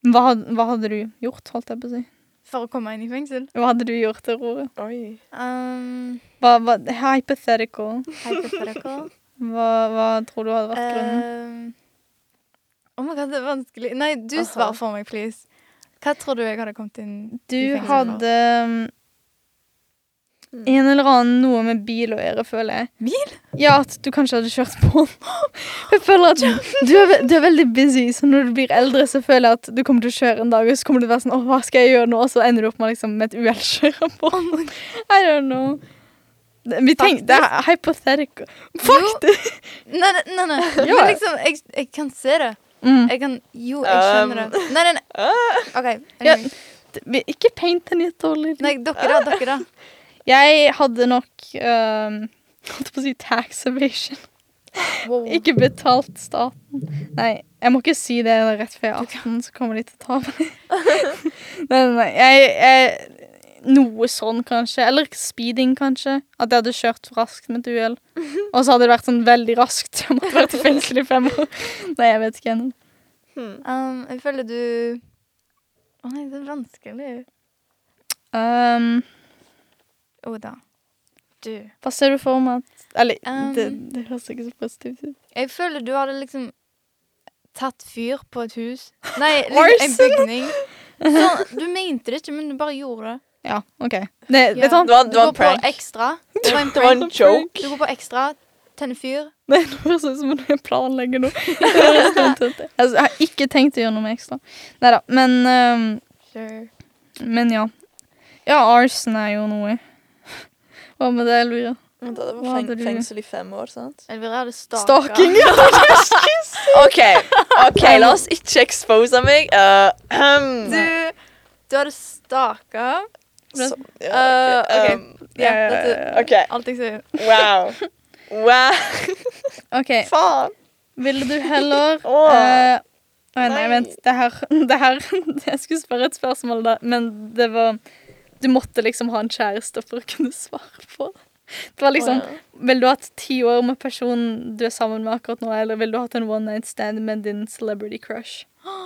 Hva, had- hva hadde du gjort, holdt jeg på å si? For å komme inn i fengsel. Hva hadde du gjort, Aurora? Oi. Um, Hva, hva, hypothetical. hypothetical. Hva, hva tror du hadde vært grunnen? um, oh my god, det er vanskelig. Nei, du Aha. svar for meg, please. Hva tror du jeg hadde kommet inn Du i fengsel for? hadde um, en eller annen noe med bil å gjøre, føler jeg. Bil? Ja, at du kanskje hadde kjørt på den. Jeg føler at du er, ve- du er veldig busy, så når du blir eldre, så føler jeg at du kommer til å kjøre en dag, og så kommer du til å være sånn Å, hva skal jeg gjøre nå? Og så ender du opp med liksom med et uhell kjøre på. I don't know. Det- Vi tenk, det er hypothetical. Faktisk! Nei, nei, nei. nei. Ja. Men liksom, jeg, jeg kan se det. Mm. Jeg kan Jo, jeg skjønner Um. det. Nei, nei, nei. OK. Ah. Ja. anyway. Vi- Ikke paint den i et dårlig lys. Nei, dere, da. Dere, da. Jeg hadde nok um, Holdt på å si tax evasion. Wow. Ikke betalt staten. Nei, jeg må ikke si det rett før jeg er 18, så kommer de til å ta meg. nei, nei, nei. Jeg, jeg, noe sånn, kanskje. Eller speeding, kanskje. At jeg hadde kjørt for raskt med et uhell. Og så hadde det vært sånn veldig raskt. Jeg måtte vært i fengsel i fem år. Nei, jeg vet ikke ennå. Hmm. Um, jeg føler du Å nei, det er vanskelig. Um, Å da. Du. hva ser du for meg at Eller, Um, det, det høres ikke så positivt ut. Jeg føler du hadde liksom tatt fyr på et hus. Nei, liksom en Arson! bygning. Sånn, du mente det ikke, men du bare gjorde det. Ja, OK. Det, sånn, Eh, vet Ja. du hva? Det var, det Du går var en på prank. ekstra. Det Det var en var en prank. joke. Du går på ekstra, tenner fyr. Nei, det høres ut som om jeg planlegger noe. Det høres dumt ut. altså, jeg har ikke tenkt å gjøre noe med ekstra. Nei da, men, øhm, Sure. men ja. Ja, arson er jo noe. Hva med det, Elvira? Men da, det var Hva feng hadde du- fengsel i fem år, sant? Elvira hadde staka. Staking! ja. OK, ok, la oss ikke expose meg. Uh, ahem. Du, du hadde staka. Så- ja, Uh, ok, ok. um, Ja, dette OK. Alt jeg sier. Wow. Wow. OK. Faen. Ville du heller Åh. eh, Nei, nei, Nei. vent. Det her, det her Jeg skulle spørre et spørsmål, da, men det var Du måtte liksom ha en kjæreste for å kunne svare på det. Det var liksom Vil du ha hatt ti år med personen du er sammen med akkurat nå, eller vil du ha hatt en one night stand med din celebrity crush?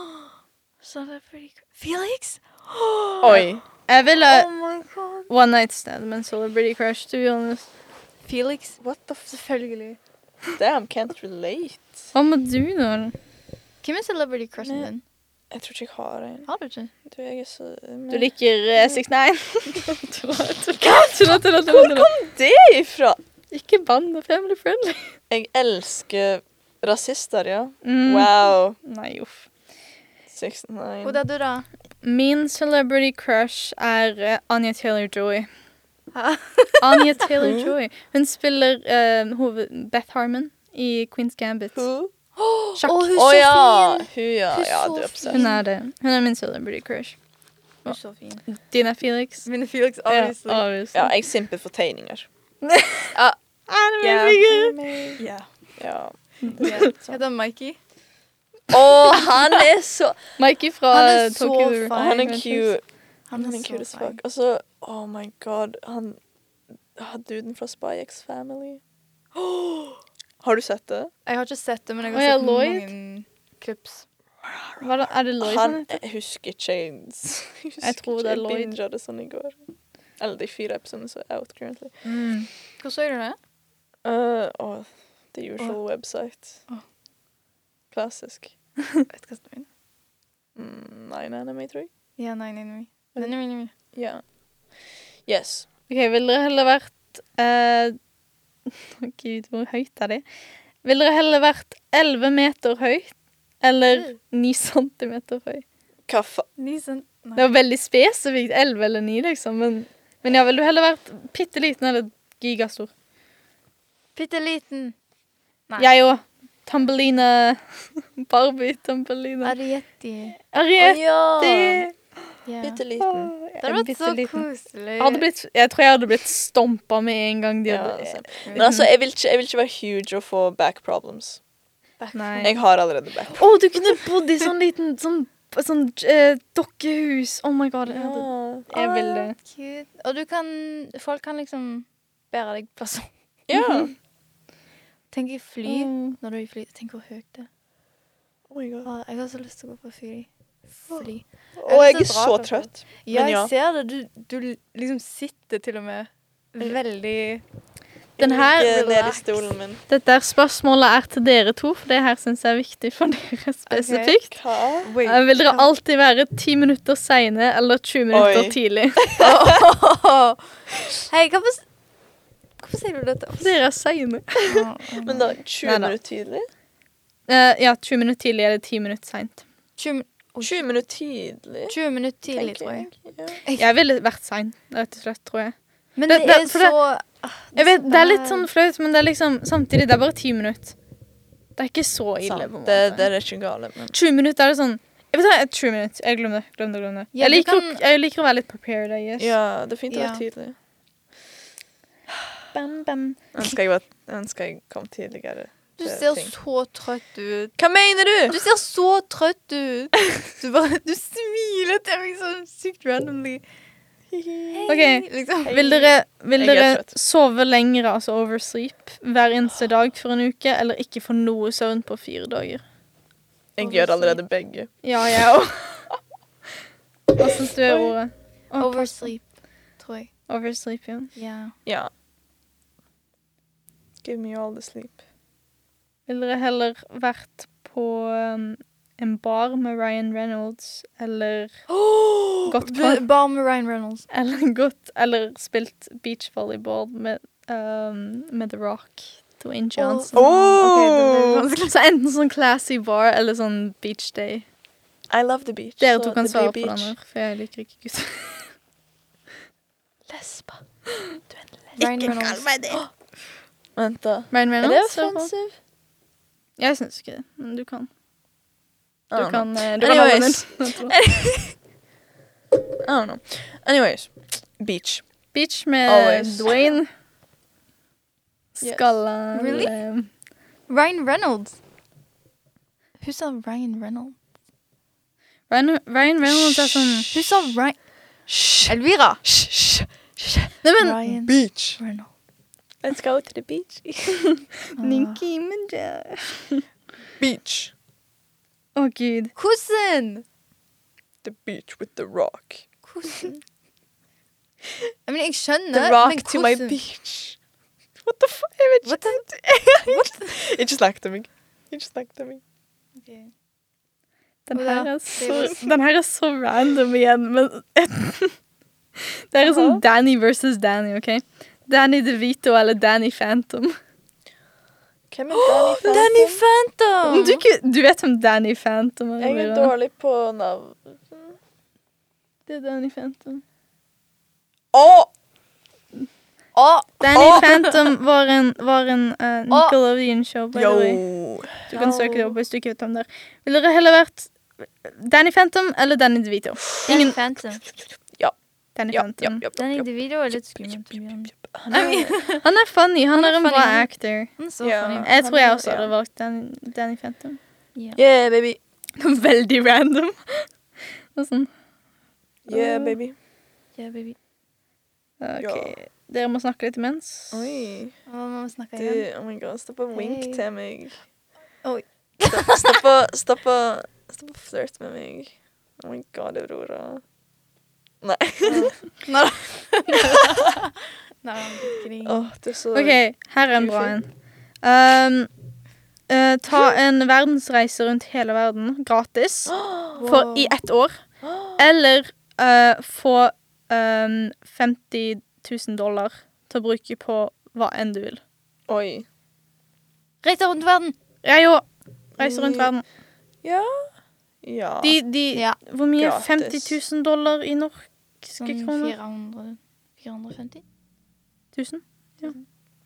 Så det er pretty cool. Felix? Oi. Jeg ville Oh my god. one night stand med en celebrity crush, to be honest. Felix? What the f... Selvfølgelig. Damn, can't relate. Hva må du nå? Hvem er celebrity crushen Nei. din? Jeg tror ikke jeg har en. Har du ikke? Du, jeg er så Du liker eh, 69? Tulla, tulla, tulla, tulla. det ifra? Ikke bann, det er family friendly. Jeg elsker rasister, ja. Mm. Wow. Nei, uff. 69. Hvor er du, da? Min celebrity crush er eh, Anya Taylor-Joy. Anya Taylor-Joy. Hun spiller eh, hoved Beth Harmon i Queen's Gambit. Who? Sjakk. Å, hun Å er så ja. fin! Hun, ja. Hun er ja, så du er fin. obsessed. Hun er det. Hun er min celebrity crush. Hun er så fin. Dina Felix. Mine Felix, Ja, obviously. Ja, jeg simper for tegninger. Anime Ja. figure. Ja. ja. Heter han Mikey? Å, han er så Mikey fra Han er så Tokyo fin. Revenge. Han er cute. Han er så cute as fin. fuck. Og så Oh my god, han ah, Duden fra Spy X Family. Åh! har du sett det? Jeg har ikke sett det, men jeg Å, ja, har sett Lloyd. mange klips. Hva da? Er det Lloyd han Han heter? jeg husker ikke Jeg, husker tror ikke, det er jeg Lloyd. binget det sånn i går. Eller de fire episodene som er out currently. Mm. Hvor så du det? Uh, oh, the usual website. Åh. Klassisk. Vet hva som er min. Mm, Nine Anime, tror jeg. Ja, nei, nei, nei. Nei, nei, nei, nei. Ja. Yes. Ok, Ville dere heller vært eh, Å, Gud, hvor høyt er det? Mm. Ville dere heller vært 11 meter høyt eller 9 centimeter høy? Hva fa... Ni cent... Det var veldig spesifikt. 11 eller 9, liksom. Men, men ja, ville du heller vært bitte liten eller gigastor? Bitte liten. Nei. Jeg òg. Tambeline. Barbie Tambeline. Arietti. Ariette! ja! Ja. Bitte Åh, liten. jeg Det er hadde vært så bitteliten. koselig. Jeg, hadde blitt, jeg tror jeg hadde blitt stompa med en gang. De Ja, hadde, sant. Men altså, jeg vil, ikke, jeg vil ikke være huge og få back problems. Nei. Jeg har allerede back Å, du kunne bodd i sånn liten sånn, sånn eh, dokkehus. Oh my god. Jeg, hadde, problems. jeg Å, ville Cute. Og du kan Folk kan liksom bære deg plasser. Ja. Tenk i fly. Mm. Når du er i fly, tenk hvor høyt det er. Oh my God. Å, Jeg har så lyst til å gå på fly. Fly. Og jeg så er drar så på trøtt. Ja, Men ja. jeg ser det. Du, du liksom sitter til og med veldig Den her, Ligge ned i relax. stolen min. dette her spørsmålet er til dere to, for det her syns jeg er viktig for dere spesifikt. Hva? Wait. Eh, Vil dere alltid være ti minutter seine eller 20 minutter Oi. tidlig? Hei, hvorfor, s- hvorfor sier du dette? Dere er seine. Men da, 20 Nei da. minutter tidlig? Eh, ja, 20 minutter tidlig eller 10 minutter seint. 20, min- 20 minutter tidlig, 20 minutter tidlig, tenker tror jeg. jeg. Ja. Jeg ville vært sein, rett og slett, tror jeg. Men Det- det, det- er for det- så Jeg vet, Det er litt Eh. sånn flaut, men det er liksom samtidig det er bare ti minutter. Det er ikke så ille. Sant. på en Det, måte. det er ikke gale, men 20 minutter er det sånn Jeg vet ikke, 20 minutter. Jeg glemmer det. Glem det, glem det. Ja, jeg, du liker, kan- å- jeg liker å være litt prepared, I guess. Ja, det er fint å Ja. være tidlig. Bam, bam. Ønsker jeg, var, ønsker jeg kom tidligere. Du Det er ser ting. så trøtt ut. Hva mener du?! Du ser så trøtt ut. Du, bare, du smiler til meg sånn sykt randomly. Hei, Ok. Liksom. Vil dere, vil Jeg er dere trøtt. sove lengre, altså oversleep, hver eneste dag for en uke, eller ikke få noe søvn på fire dager? Jeg gjør allerede begge. Ja, jeg òg. Hva syns du er ordet? Å, Oversleep, tror jeg. Oversleep, ja. Ja. Ja. Give me all the sleep. Vil dere heller vært på um, en bar med Ryan Reynolds, eller Godt Bl- Bare med Ryan Reynolds. Eller gått Eller spilt beachvolleyball med, um, med The Rock. Dwayne Johnson. Ok, det ble Oh! Så enten sånn classy bar eller sånn beach day. I love the beach. Dere så to kan det er svare på blir den beach. her, for jeg liker ikke gutter. Lesba. Du er en Ikke lesbe. Ryan Reynolds. meg det! Vent, da. Ryan Er det Reynolds? i hvert fall. offensive? Jeg syns ikke det, men du kan. Du I don't know. kan, eh, du kan ha den. Ah, Anyways. I don't know. Anyways. Beach. Beach med Always. Dwayne. Yes. Skalla Really? eh, Ryan Reynolds. Hun sa Ryan Reynolds. Ryan, Ryan Reynolds er sånn Hun sa Ryan Elvira! Nei, men Ryan Beach. Reynolds. Let's go to the beach. Nicki Minaj. beach. Å, gud. Ah. Hvordan? The beach with the rock. Hvordan? Jeg mener, jeg skjønner, men The rock to my hvordan? beach. What the fuck? Jeg vet What ikke. Ikke snakk til meg. Ikke snakk til meg. the- Den Og her, da- er det så, den her er så random igjen, men Det her er sånn Danny versus Danny, OK? Danny DeVito eller Danny Phantom. Hvem er Danny Phantom? Danny Phantom! Du, ku- du vet hvem Danny Phantom er? Jeg er eller? dårlig på navn. Det er Danny Phantom. Å! Å, Danny Åh! Phantom var en, var en eh, Nickelodeon-show, by the way. Yo! Du kan søke det opp hvis du ikke vet hvem det er. Ville dere heller vært Danny Phantom eller Danny DeVito? Danny Phantom. Danny Ja, ja, Phantom. ja, Danny ja. DeVito er litt skummelt. to be honest. Han er- Han er funny. Han, Han er er en bra funny. actor. Han er så Ja. funny. Jeg tror Han jeg er- også ja. hadde valgt Danny, Danny Phantom. Ja. Yeah, baby. Veldig random. Og sånn Yeah, baby. Ja, baby. OK. Dere må snakke litt imens. Oi. Å, Mamma snakker Du, igjen. oh my god, stopp å Hey. wink til meg. Oi. Stopp- Stopp å Stopp å stopp å flørte med meg. Oh my god, Aurora. Nei. Nei, han drikker Åh, ikke. du er så OK, her er en bra en. Ufin. Um, eh, ta en verdensreise rundt hele verden gratis for, i ett år. Eller eh, få um, 50 000 dollar til å bruke på hva enn du vil. Oi. Reiser rundt verden! Jeg òg. Reise rundt verden. Ja, Ja. De, de Ja. Hvor mye? Gratis. 50 000 dollar i Sånn norske kroner? 400, 450? 1000? Ja.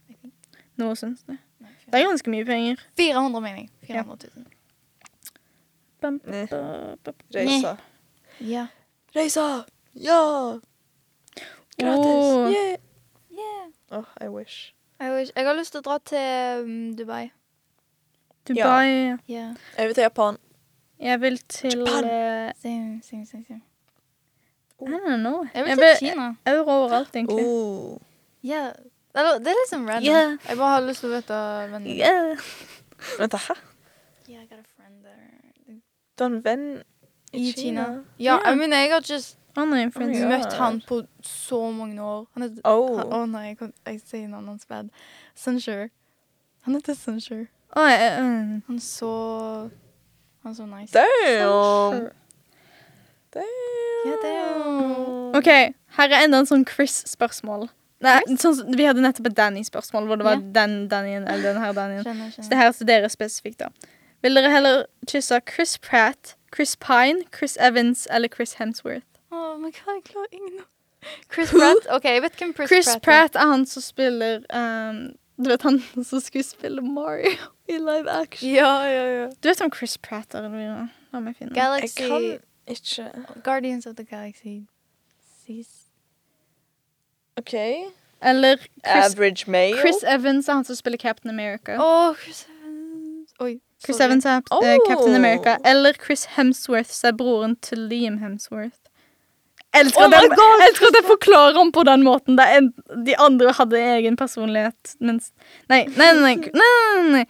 I think. Noe sånt. Det Nei, Det er ganske mye penger. 400, mener jeg. 400 000. Bam, bam, Nei. bam, bam. Reisa. Ja. Reisa! Ja! Gratis. Åh. Yeah! Yeah. Åh, I wish. Jeg, vet ikke- jeg har lyst til å dra til mm, Dubai. Dubai Ja. Jeg vil til Japan. Jeg vil til Japan. eh, Same, same, same, same. I don't know. Jeg vil Jeg til vil- Kina. Euro overalt, egentlig. Oh. Ja. Eller, det er liksom random. Ja. Jeg bare har lyst til å vite vennen min. Yeah. Vent, hæ? Yeah, I got a friend there. Du har en venn I Kina. Ja. Ja, jeg mener, jeg har just Han er influenser. Ja. møtt han på så mange år. Han heter Oh. han- Å nei, jeg, kom, jeg sier navnet hans bad. Sunsure. Han heter Sunsure. Å, jeg- eh, Han er så Han er så nice. Damn! Damn. Ja, damn. OK, her er enda en sånn Chris-spørsmål. Nei, sånn, som- vi hadde nettopp et Danny-spørsmål, hvor det var Ja. den Dannyen eller den her Dannyen. Skjønner, Så det skjønner. her er til dere spesifikt, da. Vil dere heller kysse Chris Pratt, Chris Pine, Chris Evans eller Chris Hemsworth? Oh my god, jeg klarer ingen av Chris Pratt. OK, jeg vet hvem Chris, Chris Pratt, Pratt er han som spiller ehm, Du vet han som skulle spille Mario i live er. action? Ja, ja, ja. Du vet om Chris Pratt er eller noe? La meg finne Jeg Galaxy kan ikke Guardians of the Galaxy. Seas. OK. Eller Chris, Average male. Chris Evans er han som spiller Captain America. Å, Chris Evans. Oi. Chris sorry. Evans er Oh. eh, Captain America. Eller Chris Hemsworth, som er broren til Liam Hemsworth. Jeg elsker, Oh at my den, jeg elsker at jeg forklarer ham på den måten. Der en, de andre hadde egen personlighet, mens Nei, nei, nei. nei, nei, nei, nei.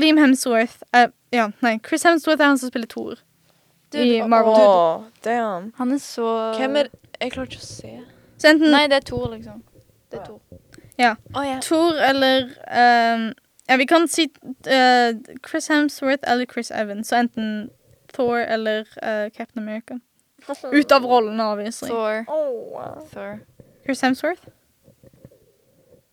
Liam Hemsworth er Ja, nei. Chris Hemsworth er han som spiller Thor. I Dude, Marvel. Uh, Åh, damn. Han er så Hvem er Jeg klarer ikke å se. Så enten Nei, det er Thor, liksom. Det er Thor. Ja. Å, ja. Thor eller ehm, Ja, vi kan si eh, Chris Hemsworth eller Chris Evans. Så enten Thor eller eh, Captain America. Ut av rollen, obviously. Thor. Åh. Thor. Chris Hemsworth?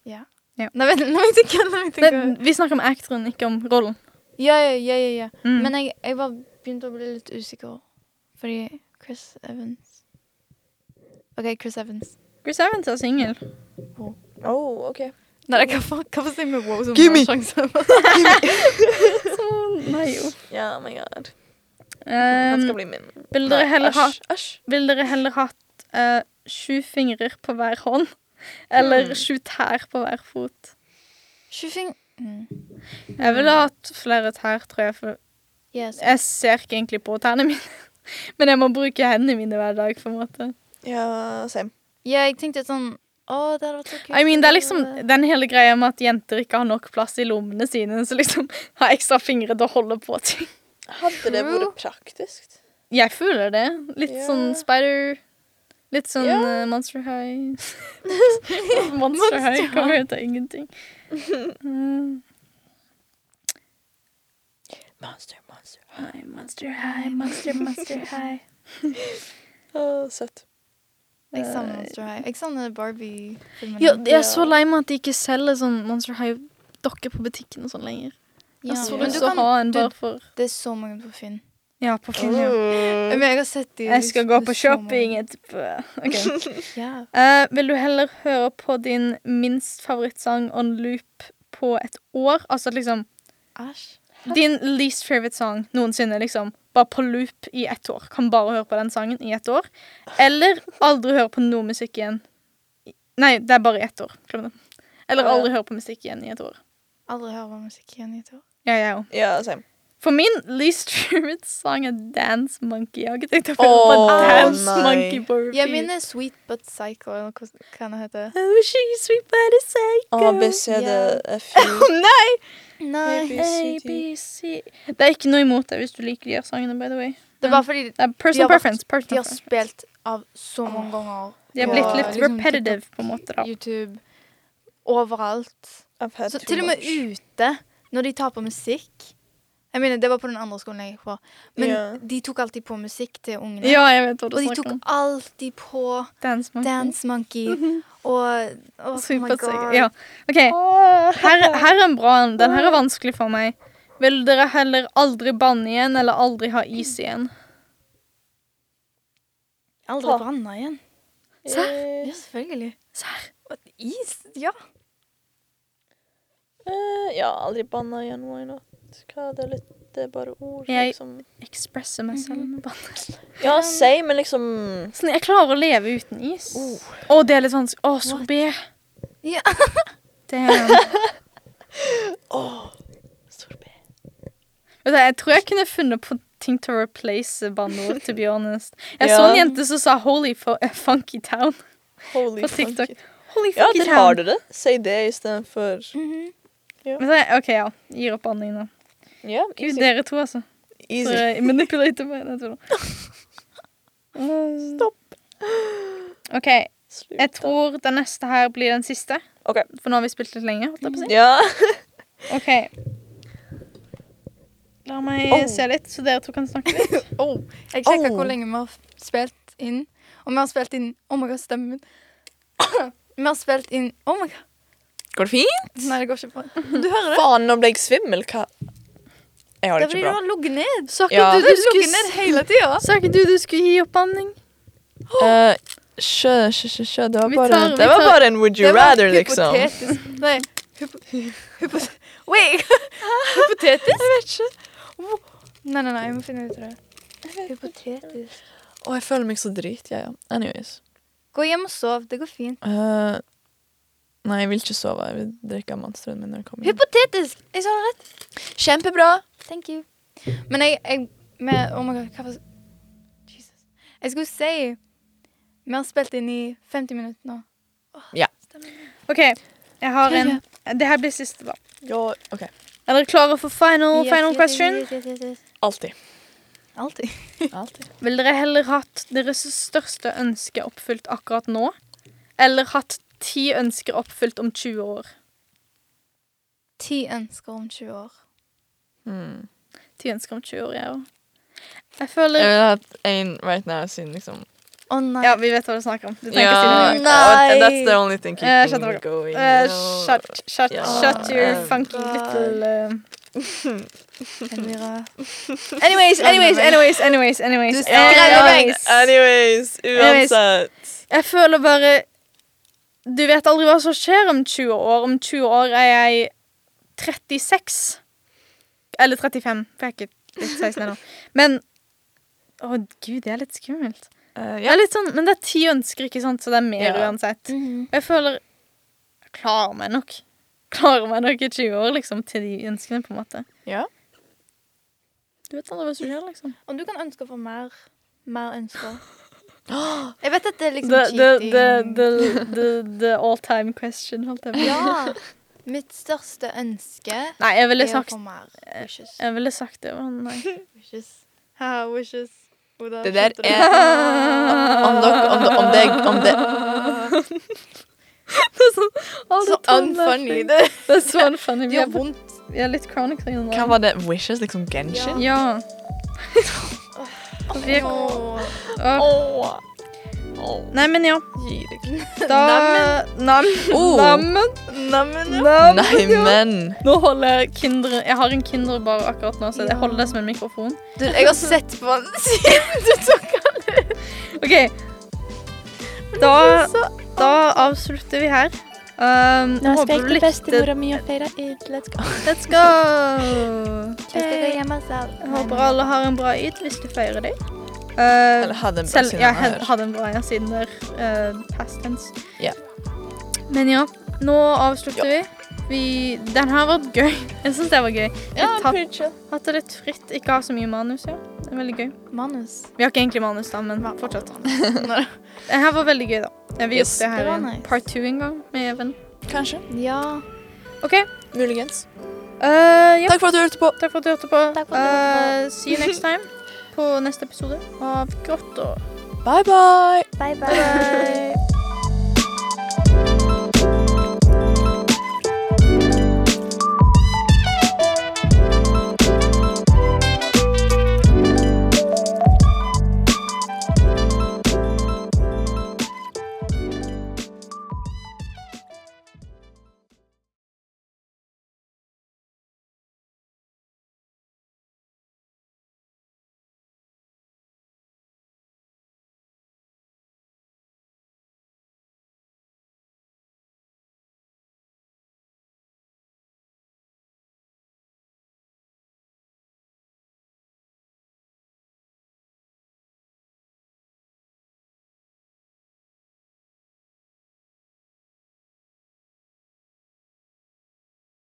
Ja. Ja. Nei, vent, nå vet jeg ikke. Nå vet jeg Nei, ikke. vi snakker om actoren, ikke om rollen. Ja, ja, ja, ja, ja. Mm. Men jeg, jeg bare begynte å bli litt usikker. Fordi Chris Evans OK, Chris Evans. Chris Evans er singel. Åh, OK. Nei, det- hvorfor hvorfor sier vi wow som Gimme! har sjanse? Så- Nei, jo. Ja, oh my god. Han skal Um, bli min. vil, dere Nei, heller ha, æsj, Æsj. vil dere heller hatt eh, sju fingrer på hver hånd? Eller Hmm. sju tær på hver fot? Tjuving mm. Jeg ville hatt flere tær, tror jeg. For Yes. jeg ser ikke egentlig på tærne mine. Men jeg må bruke hendene mine hver dag. på en måte. Ja, same. Ja, jeg tenkte sånn Å, det hadde vært så kult. I mean, det er liksom å- den hele greia med at jenter ikke har nok plass i lommene sine, så liksom ha ekstra fingre til å holde på ting. Hadde det True. vært praktisk? Jeg føler det. Litt Ja. sånn Spider Litt sånn Ja. eh, Monster High. Monster High kommer ut av ingenting. Mm. Monster, monster. High, Monster High, Monster, Monster High. Åh, søtt. Jeg savner Monster High. Jeg savner Barbie-filmene. Jo, jeg er så lei meg at de ikke selger sånn Monster High-dokker på butikken og sånn lenger. Ja, jeg så men lyst du til å kan- altså, ha en du- bare for Oh. Det er så mange på Finn. Ja, på Finn. ja. Men jeg har sett de Jeg skal det gå er på så mange. shopping etterpå. Ok. Ja. Eh, vil du heller høre på din minst favorittsang on loop på et år? Altså liksom Æsj. Din least favorite song noensinne, liksom, bare på loop i ett år. Kan bare høre på den sangen i ett år. Eller aldri høre på noe musikk igjen. I- Nei, det er bare i ett år. Glem det. Eller Ja. aldri høre på musikk igjen i et år. Aldri hørt på musikk igjen i et år. Ja, jeg òg. Ja, same. For min least favorite song er Dance Monkey. Jeg har ikke tenkt å høre på Åh, Dance nei. Monkey på repeat. Jeg mener Sweet But Psycho, eller hva hva den heter. Oh, she's sweet but a psycho. A, B, C, D, Ja. F, U. Nei! Nei. Maybe. A, B, C Det er ikke noe imot det hvis du liker de her sangene, by the way. Det er bare fordi Det er De har personal vært- preference. de Personal har preference. spilt av så mange ganger. De har på blitt litt liksom repetitive, på en måte, da. TikTok, YouTube, overalt. I've had Så too til og med much. ute, når de tar på musikk Jeg mener, Det var på den andre skolen jeg gikk på. Men Ja. de tok alltid på musikk til ungene. Ja, jeg vet hva du og de snakker tok om. alltid på Dance Monkey. Dance Monkey Mhm. og oh my Supert sikkert. god. Ja. OK, her, her er en bra en. Den her er vanskelig for meg. Vil dere heller aldri banne igjen eller aldri ha is igjen? Aldri Ta. branna igjen. Serr? Ja, selvfølgelig. Serr? Og et is? Ja. eh, ja, aldri banna igjen, why not? Hva, det er litt Det er bare ord, Jeg- liksom. Ekspresse meg selv Mhm. med bann. Ja, si, men liksom Sånn, jeg klarer å leve uten is. Å, Oh. det er litt vanskelig. Å, sorbé. Ja. Damn. Åh, sorbé. Vet du, jeg tror jeg kunne funnet på ting til å replace banneord, to be honest. Jeg så Ja. en jente som sa 'holy fu- eh, funky town'. Holy På fuck. TikTok. Holy Ja, funky der town. har du det. Si det istedenfor Mhm. Vet du, hva, OK, ja. Gir opp banning nå. Ja, Gud, easy. Dere to, altså. easy. Dere manipulerer meg. Nei, jeg tuller. Mm. Stopp. OK, Slutt, jeg da. tror den neste her blir den siste. OK. Mhm. For nå har vi spilt litt lenge. holdt jeg på å si. Ja. OK. La meg Oh. se litt, så dere to kan snakke litt. Oh, jeg sjekka Oh. hvor lenge vi har f- spilt inn. Og vi har spilt inn Oh my god, stemmen min. vi har spilt inn Oh my god. Går det fint? Nei, det går ikke bra. Du hører det? Faen, nå ble jeg svimmel. Hva Jeg har Det det er fordi ikke du bra. har ligget ned. Sa ikke Ja. du Du du har ligget skulle, ned hele tida. sa ikke du du skulle gi opp banning? Eh, Sjø, sjø, sjø, sjø. Det var Vi bare, tar- vi det var tar- bare en would you rather, liksom. hypotetisk. Nei, hypo... hypo Wait! hypotetisk? Jeg vet ikke. Wo- Nei, nei, nei, jeg må finne ut av det. liksom. Hypotetisk. Å, jeg føler meg så drit, jeg. Ja, ja. Anyways. Gå hjem og sov. Det går fint. Eh, nei, jeg vil ikke sove. Jeg vil drikke av monsteren min når jeg kommer hjem. Hypotetisk! Jeg sa det rett. Kjempebra! Thank you. Men jeg, jeg med, Oh my god, hva var Jesus. Jeg skulle si Vi har spilt inn i 50 minutter nå. OK, jeg har en Det her blir siste, da. Ja, OK. Er dere klare for final, Yes, final yes, question? yes, yes, yes, yes. Alltid. Alltid. Alltid. Vil dere heller hatt deres største ønske oppfylt akkurat nå? Eller hatt ti ønsker oppfylt om 20 år? Ti ønsker om 20 år. Hmm. Ti ønsker om 20 år, jeg òg. Jeg Jeg føler ville hatt en right now siden liksom Å nei. Ja, vi vet hva du snakker om. Du trenger ikke si Ja, noe. Eh, Nei. and that's the only Eh, thing keeping shut me up. going. Eh, you know. shut, shut, Ja. shut your Eh, funky bra. little eh. Jeg blir rød. Anyways, anyways, anyways, anyways. anyways. Du Ja, skrev ja. i vegg. Anyways, uansett. Jeg føler bare Du vet aldri hva som skjer om 20 år. Om 20 år er jeg 36. Eller 35, for jeg er ikke blitt 16 ennå. Men Å, gud, det er litt skummelt. Eh, Det ja. er litt sånn, men det er ti ønsker, ikke sant, så det er mer Ja. uansett. Mhm. Og Jeg føler Jeg klarer meg nok. Klarer meg nok i 20 år, liksom, til de ønskene, på en måte. Ja. Du vet aldri hva som skjer, liksom. Om du kan ønske for mer mer ønsker. Jeg vet at det er liksom The, the, cheating. the, the, the, the all time question, holdt jeg på å si. Ja. Mitt største ønske Nei, jeg ville er å sagt få mer wishes. Jeg ville sagt det, men nei. Wishes. Haha, wishes. Oda, Det der skjønte du? er Om, dere- om, om det Om det Så unfunny. Det Det er så unfunny. Vi gjør er, på, vondt. vi er litt chronic sånn. Hva var det? Wishes? Liksom Genshin? Ja. Vi er, Åh. Åh. Åh. Åh. Nei, men ja. Gi deg. Da Nam. Oh. Nammen. Neimen, ja. Nam. Nei, men Nå holder jeg Kinder Jeg har en Kinderbar akkurat nå, så jeg holder det som en mikrofon. Du, jeg har sett på den siden du tok den. OK. Da, da avslutter vi her. Um, håper du likte mi og feire id. Let's go. Let's go! Jeg skal gå hjem og sove. Jeg håper alle har en bra id hvis du feirer Uh, dem. Eller ha den bra selv, siden ja, han jeg er. hadde en bra en siden der. eh, past tense. Ja. Men ja, nå avslutter vi. vi. Den her var gøy. Jeg syns det var gøy. Ja, tatt- pretty chill. Hatt det litt fritt, ikke ha så mye manus. ja. Det er veldig gøy. Manus. Vi har ikke egentlig manus, da, men fortsatt. Det her var veldig gøy, da. Jeg vil Yes. gjøre det Det her var igjen. nice. Part two en gang med Even. Kanskje. Ja. OK. Muligens. eh, ja. Takk for at du hørte på. Takk for at du hørte på. Takk for at du hørte Eh, see you next time på neste episode av Grått og Bye, bye. Bye, bye.